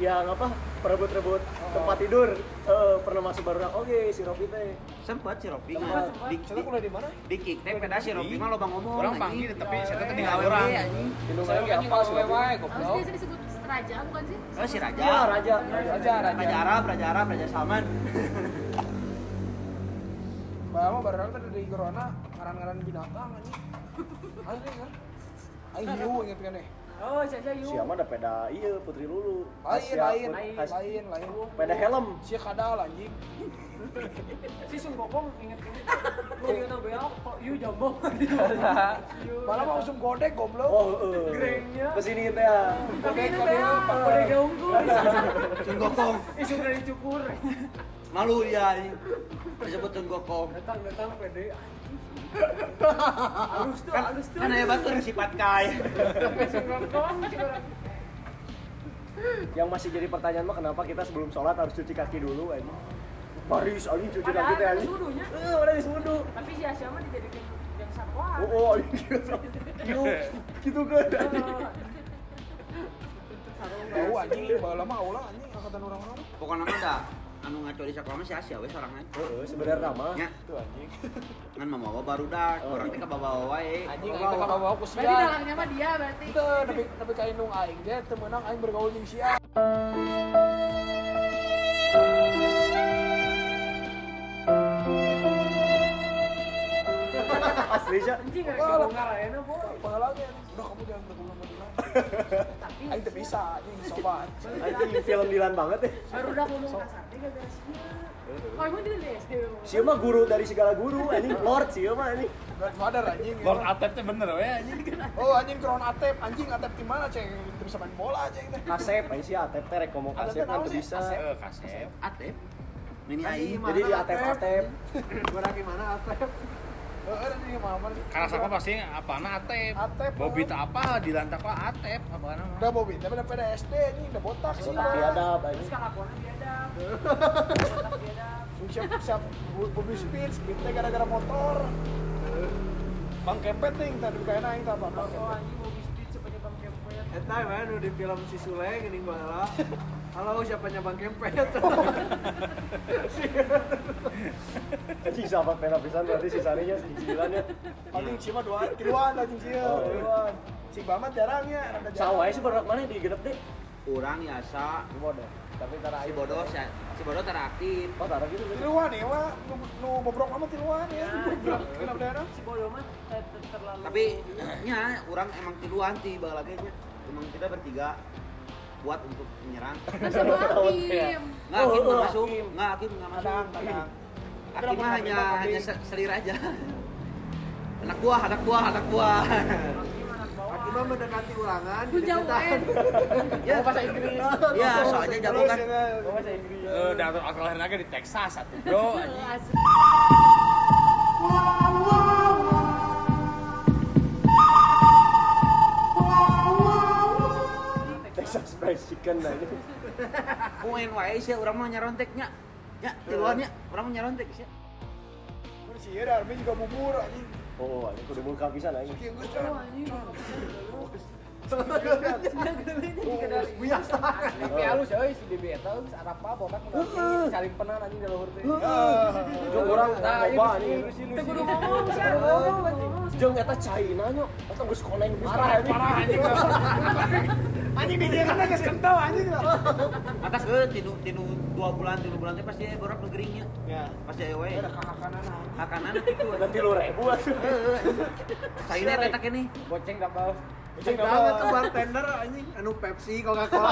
Speaker 4: yang apa perebut-rebut tempat tidur Eh, pernah masuk baru oke iya, si Rofi teh
Speaker 2: Sempat si Ropi kan.
Speaker 4: Sempat,
Speaker 2: Di
Speaker 11: Saya kuliah di mana?
Speaker 2: di kick teh peda si Ropi mah lobang ngomong.
Speaker 6: Orang
Speaker 2: anjing.
Speaker 6: panggil tapi saya tuh tinggal
Speaker 2: Awewe,
Speaker 6: orang.
Speaker 2: anjing.
Speaker 4: minum air kayak apa si Rofi?
Speaker 5: Harus biasa disebut raja bukan sih?
Speaker 2: Oh si
Speaker 13: Ya,
Speaker 2: Raja.
Speaker 4: Iya, raja raja
Speaker 2: Raja Arab, Raja Arab, Raja Salman.
Speaker 11: Bah,
Speaker 3: Padahal mah barang tadi di Corona ngaran-ngaran binatang anjing. Asli kan? Aing hiu inget kan eh.
Speaker 13: Oh, jaja yuk.
Speaker 4: Siapa ada peda iya putri lulu.
Speaker 3: Lain,
Speaker 13: ya,
Speaker 4: Asia,
Speaker 3: lain,
Speaker 4: put- As-
Speaker 3: lain, lain.
Speaker 4: Peda helm.
Speaker 3: Si kadal anjing.
Speaker 13: Si Sun Gokong inget inget. Lu yuk tau beok, kok yuk jambo. Gitu.
Speaker 3: Malah mau langsung godek goblok.
Speaker 4: Oh, eh.
Speaker 13: Grengnya.
Speaker 4: Kesini teh. ya.
Speaker 13: Tapi ini beok, udah gaungku.
Speaker 2: Cun gokong.
Speaker 13: Isu udah dicukur.
Speaker 2: Malu dia anjing. Disebut cun gokong.
Speaker 13: Datang, datang, pede. Halus tuh,
Speaker 2: Kan,
Speaker 13: halus tuh.
Speaker 2: kan aya batur sifat kai.
Speaker 13: Si Gokong, si orang.
Speaker 4: Yang masih jadi pertanyaan mah kenapa kita sebelum sholat harus cuci kaki dulu anjing? Baris anjing cuci kaki
Speaker 13: Padahal
Speaker 4: teh
Speaker 13: kan
Speaker 4: anjing.
Speaker 13: sudunya.
Speaker 4: Eh, udah disudu.
Speaker 13: Tapi si Asia mah dijadikan yang satwa.
Speaker 4: Oh, oh, anjing gitu. Gitu, Gitu kan
Speaker 13: Eh,
Speaker 4: anjing.
Speaker 3: Tahu anjing, bae lama ulah anjing angkatan orang-orang.
Speaker 2: Pokoknya mah da anu ngaco di sakola mah si Asia we sorangan.
Speaker 4: Heeh, Eh, sebenarnya mah.
Speaker 2: Nya,
Speaker 3: Tuh anjing.
Speaker 2: kan mamawa barudak, urang teh kabawa wae.
Speaker 3: Anjing aing teh bawa ku
Speaker 13: Berarti
Speaker 3: sia.
Speaker 13: dalangnya mah dia berarti.
Speaker 3: Teu nepi nepi ka indung aing ge teu meunang aing bergaul jeung sia.
Speaker 4: Asli sih.
Speaker 13: Anjing ada
Speaker 3: Wah,
Speaker 13: kebongkar aja boy.
Speaker 3: Pahala ge. Udah kamu jangan bergaul sama dia.
Speaker 13: Tapi
Speaker 3: Aing teu bisa anjing sobat.
Speaker 4: Anjing film Dilan banget ya.
Speaker 13: baru udah ngomong kasar dia gak beres. Oh emang dia dari SD lu?
Speaker 4: Siapa mah guru dari segala guru anjing lord siapa mah anjing.
Speaker 3: Godfather anjing.
Speaker 6: Lord Atep teh bener we anjing.
Speaker 3: Oh anjing kron atep, anjing atep di mana ceng? Teu bisa main bola ceng teh.
Speaker 4: Kasep anjing si Atep teh rek ngomong
Speaker 3: Atep
Speaker 4: kasep
Speaker 3: teh
Speaker 4: kan
Speaker 3: naon
Speaker 4: teu
Speaker 3: sih?
Speaker 4: bisa.
Speaker 3: Asep.
Speaker 6: Eh, kasep.
Speaker 2: Atep. Mini
Speaker 3: Anjing,
Speaker 2: ai.
Speaker 3: mah.
Speaker 4: Jadi di Atep Atep.
Speaker 3: Heeh, ada di kamar sih.
Speaker 6: Karena siapa pasti apa Atep.
Speaker 3: Atep,
Speaker 6: Bobby
Speaker 3: eh.
Speaker 6: teh apa dilantak lah Atep apa nama.
Speaker 3: Udah bobi, tapi udah pada SD anjing, udah botak sih.
Speaker 4: Botak biadab anjing.
Speaker 13: Terus kelakuannya dia ada. Dia ada.
Speaker 3: Siap siap bobi speed, speed teh gara-gara motor. Bang kepet ting tadi bukan aing tah bang.
Speaker 13: Oh anjing mau biskuit sebanyak bang kempet.
Speaker 5: Eta mana nu di film si Sule geuning baheula. Halo siapanya Bang Kempet?
Speaker 4: Anjing sahabat pena pisan berarti sisanya si Dilan ya.
Speaker 3: Anjing cuma dua tiluan anjing sia.
Speaker 4: Oh.
Speaker 3: Tiluan. Si Bamat jarang ya, rada jarang.
Speaker 4: Sawai sih bergerak mana di gedep deh.
Speaker 2: Urang Yasa,
Speaker 4: Gimana? Tapi tara
Speaker 2: si
Speaker 4: aib.
Speaker 2: bodoh si, si bodoh teraktif.
Speaker 4: Oh tara gitu gitu.
Speaker 3: Tiluan ya, wa. Nu, nu bobrok amat tiluan ya. Bobrok kenapa daerah?
Speaker 13: Si bodoh mah ter- ter- terlalu.
Speaker 2: Tapi nya urang emang tiluan ti baheula ge nya. Emang kita bertiga kuat untuk menyerang.
Speaker 13: Hakim.
Speaker 2: Nggak,
Speaker 4: Oh,
Speaker 2: Hakim nggak
Speaker 4: oh,
Speaker 2: masuk.
Speaker 4: Hakim.
Speaker 2: Nggak, Hakim nggak masuk.
Speaker 3: Kadang, kadang.
Speaker 2: Hakim mah hanya, hanya se- selir aja. Anak buah, anak buah, anak buah.
Speaker 5: Aki mah mendekati ulangan. jadi
Speaker 13: Jauh
Speaker 5: kita-
Speaker 13: eh.
Speaker 2: ya, bahasa Inggris. Ya, soalnya jago kan.
Speaker 6: Eh, dan akal lahir lagi di Texas satu bro anjing.
Speaker 14: Asli.
Speaker 4: Texas fried chicken anjing.
Speaker 2: Main wae sih, urang mah nyaronteknya. Ya, tiluannya, urang mah nyarontek sih.
Speaker 3: Mun sia da army juga bubur anjing.
Speaker 4: Oh anjing kudu buka pisan anjing.
Speaker 3: Kieu geus
Speaker 13: Oh
Speaker 3: kan.
Speaker 13: anjing.
Speaker 5: Biasa.
Speaker 4: Tapi halus
Speaker 6: euy si Bibi eta geus arapa botak udah saling penan anjing di luhur teh.
Speaker 4: Jeung urang loba anjing.
Speaker 13: Kita kudu ngomong sih. Kudu ngomong.
Speaker 4: Jeung eta China nya. Eta geus koneng geus parah anjing.
Speaker 6: Parah anjing.
Speaker 3: Anjing di dia kan geus kental anjing.
Speaker 2: Atas eh, ke tinu tinu 2 bulan, 3 bulan teh pasti borak negeringnya.
Speaker 3: Ya.
Speaker 2: Pasti aya wae.
Speaker 3: Kakak-kakak
Speaker 2: Makanan itu.
Speaker 4: Nanti lu ribu atuh.
Speaker 2: Sayurnya tetak ini.
Speaker 6: Boceng dabal.
Speaker 5: Cek banget tuh bartender anjing anu Pepsi Coca-Cola.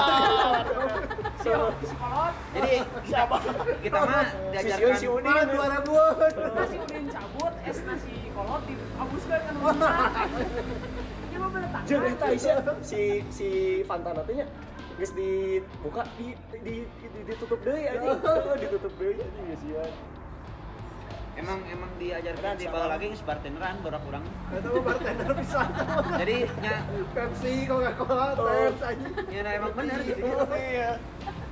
Speaker 2: Jadi kita mah
Speaker 4: Oh, Si Siun si
Speaker 2: diajarkan
Speaker 4: Uni.
Speaker 5: Mana 2000?
Speaker 13: Nasi udin cabut, es nasi kolot di kan kan Dia mah pada tangan.
Speaker 4: Jeung eta Aisyah si si Fantana teh nya geus dibuka di di, di ditutup deui anjing. Heeh, ditutup deui anjing geus sia.
Speaker 2: emang emang diajarkan di bawah lagi geus bartenderan borak urang.
Speaker 5: Eta mah bartender pisan.
Speaker 2: Jadi nya
Speaker 5: Pepsi Coca-Cola Pepsi anjing.
Speaker 2: nya nah emang bener gitu.
Speaker 3: Iya.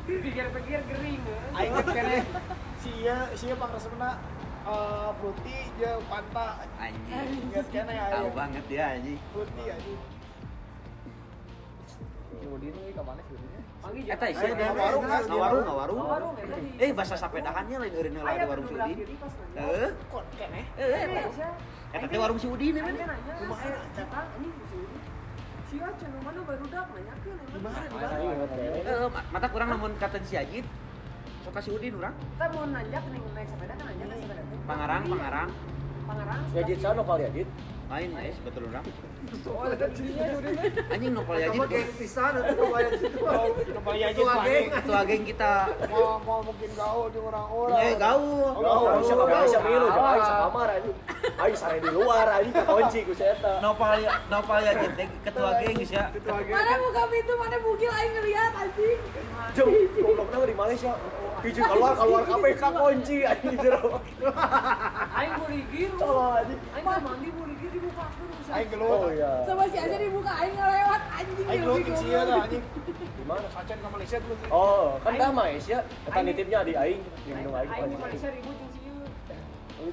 Speaker 13: Pikir-pikir gering. eh.
Speaker 3: Aing kan ya. Sia sia pangresepna eh fruity jeung Fanta.
Speaker 2: Anjing.
Speaker 3: Ingat kana ya.
Speaker 2: Tahu
Speaker 3: aing.
Speaker 2: banget dia anjing.
Speaker 3: Fruity anjing.
Speaker 13: Panggil
Speaker 2: Eta
Speaker 13: jangan.
Speaker 2: isi ada warung, ngawarung, ngawarung.
Speaker 13: Warung eta di.
Speaker 2: Eh bahasa sapedahannya lain eureun heula di
Speaker 13: Aya
Speaker 2: warung si
Speaker 13: kudu
Speaker 2: Udin.
Speaker 13: gerak diri pas nanya.
Speaker 2: Heeh.
Speaker 3: Kon kene.
Speaker 2: Eh,
Speaker 13: Eh,
Speaker 2: eta.
Speaker 13: Aisyah,
Speaker 2: Eta teh warung si Udin
Speaker 13: Aing
Speaker 2: emang.
Speaker 13: teh nanya, eh, Cita, ini si Udin. Si Aceh, nu mana barudak nanyakeun, emang.
Speaker 2: Heeh, mata kurang namun katen si Ajit. sok kasih udin orang
Speaker 5: Kita mau nanjak nih naik sepeda kan nanjak naik sepeda. tuh.
Speaker 2: pangarang
Speaker 5: Tapi,
Speaker 2: pangarang
Speaker 5: Pangarang.
Speaker 4: Ya jit sana kali ya jit.
Speaker 2: lain ya sebetul orang
Speaker 5: Oh, ada jadinya jadinya.
Speaker 2: anjing nopal ya
Speaker 8: Kamu
Speaker 2: jadi
Speaker 8: kayak pisan atau kebayang gitu.
Speaker 6: Kembali aja
Speaker 2: ketua
Speaker 6: Pak.
Speaker 2: geng ketua geng kita
Speaker 11: mau mau mungkin gaul di orang-orang
Speaker 2: eh gaul
Speaker 4: Gaul, bisa kamar, bisa milu,
Speaker 2: Gaul.
Speaker 4: jangan bisa kamar aja. Ayo sare di luar aja, kunci ku seta.
Speaker 2: nopal ya nopal ya jadi ketua geng guys ya
Speaker 5: Mana buka pintu, mana bugil aing ngeliat anjing.
Speaker 4: Jom, goblok kenapa di Malaysia? Pijit keluar, keluar KPK kunci aja di jero.
Speaker 5: Aing burigir.
Speaker 4: Tolong anjing.
Speaker 5: Aing mau mandi burigir dibuka aku.
Speaker 11: aing gelut
Speaker 4: Oh iya.
Speaker 5: Sama si Aja dibuka aing ngelewat anjing.
Speaker 11: aing gelut jeung sia tah anjing
Speaker 4: Di mana?
Speaker 11: acan ke Malaysia tuh
Speaker 4: Oh, kan dah Malaysia. Eta nitipnya di aing, di minum aing.
Speaker 7: Aing di Malaysia ribut jeung si ieu.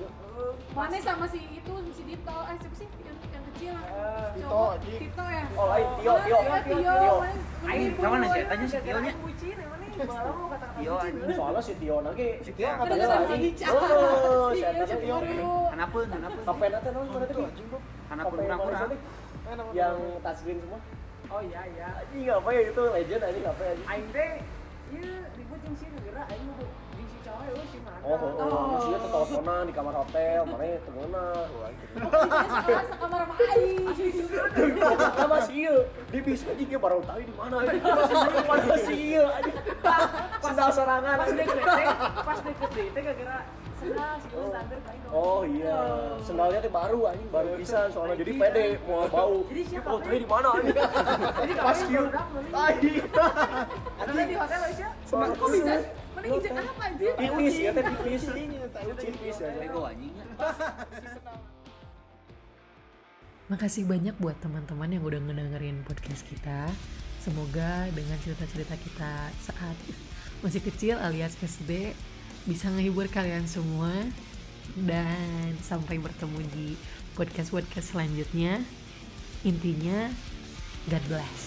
Speaker 5: Mana sama si itu si Dito, eh siapa sih yang yang kecil?
Speaker 11: Dito,
Speaker 5: Cowok.
Speaker 11: anjing.
Speaker 5: Dito ya.
Speaker 4: Eh, Oh, lain Tio, Tio,
Speaker 5: Tio, Tio,
Speaker 4: Tio.
Speaker 5: mana?
Speaker 2: Aing, sama nih, saya Hmm, tanya si
Speaker 5: Gara-gara
Speaker 2: Tionya.
Speaker 5: aing Bucin, emang nih, malam mau kata-kata
Speaker 2: Tio,
Speaker 5: bucin.
Speaker 2: anjing.
Speaker 4: Soalnya si Tio lagi. Si Tio
Speaker 5: Terus
Speaker 4: katanya
Speaker 5: sama si
Speaker 4: lagi.
Speaker 5: Ica.
Speaker 4: Oh,
Speaker 5: Si
Speaker 4: si Eta
Speaker 5: Ica
Speaker 4: Tio.
Speaker 5: baru.
Speaker 2: kenapa kenapa
Speaker 4: Kapan nanti nonton nanti?
Speaker 2: kenapa kurang kurang
Speaker 4: Yang touchscreen semua.
Speaker 5: Oh iya iya.
Speaker 4: Anjing apa ya itu legend anjing apa ya?
Speaker 5: Aing teh ieu Iya, ribut jeung si geura aing mah jeung si cowok euy si mana.
Speaker 4: Oh, oh, oh. Maksudnya teleponan di kamar hotel, mana temennya.
Speaker 5: Pokoknya si kamar sama aing.
Speaker 4: Sama si iya, di bisnya juga baru tahu di mana. anjing. Mana si iya, anjing. Sendal sorangan.
Speaker 5: Pas
Speaker 4: anjing.
Speaker 5: deket teh, pas deket teh teh gara-gara sebelah si geura standar aing.
Speaker 4: Oh iya, sendalnya teh baru anjing, baru pisan soalnya jadi pede mau bau.
Speaker 5: Jadi siapa
Speaker 4: Oh, tadi di mana anjing?
Speaker 5: Jadi
Speaker 4: Pas
Speaker 5: kawin
Speaker 4: kieu.
Speaker 5: produk, mending.
Speaker 4: Anjing.
Speaker 5: Karena di hotel aja.
Speaker 4: Soalnya
Speaker 5: Kok bisa? Mending injek apa anjir?
Speaker 4: Tipis ya teh tipis. Tipis ya.
Speaker 2: bego anjingnya
Speaker 13: Makasih banyak buat teman-teman yang udah ngedengerin podcast kita. Semoga dengan cerita-cerita kita saat masih kecil alias SD bisa ngehibur kalian semua. Dan sampai bertemu di podcast-podcast selanjutnya. Intinya, God bless.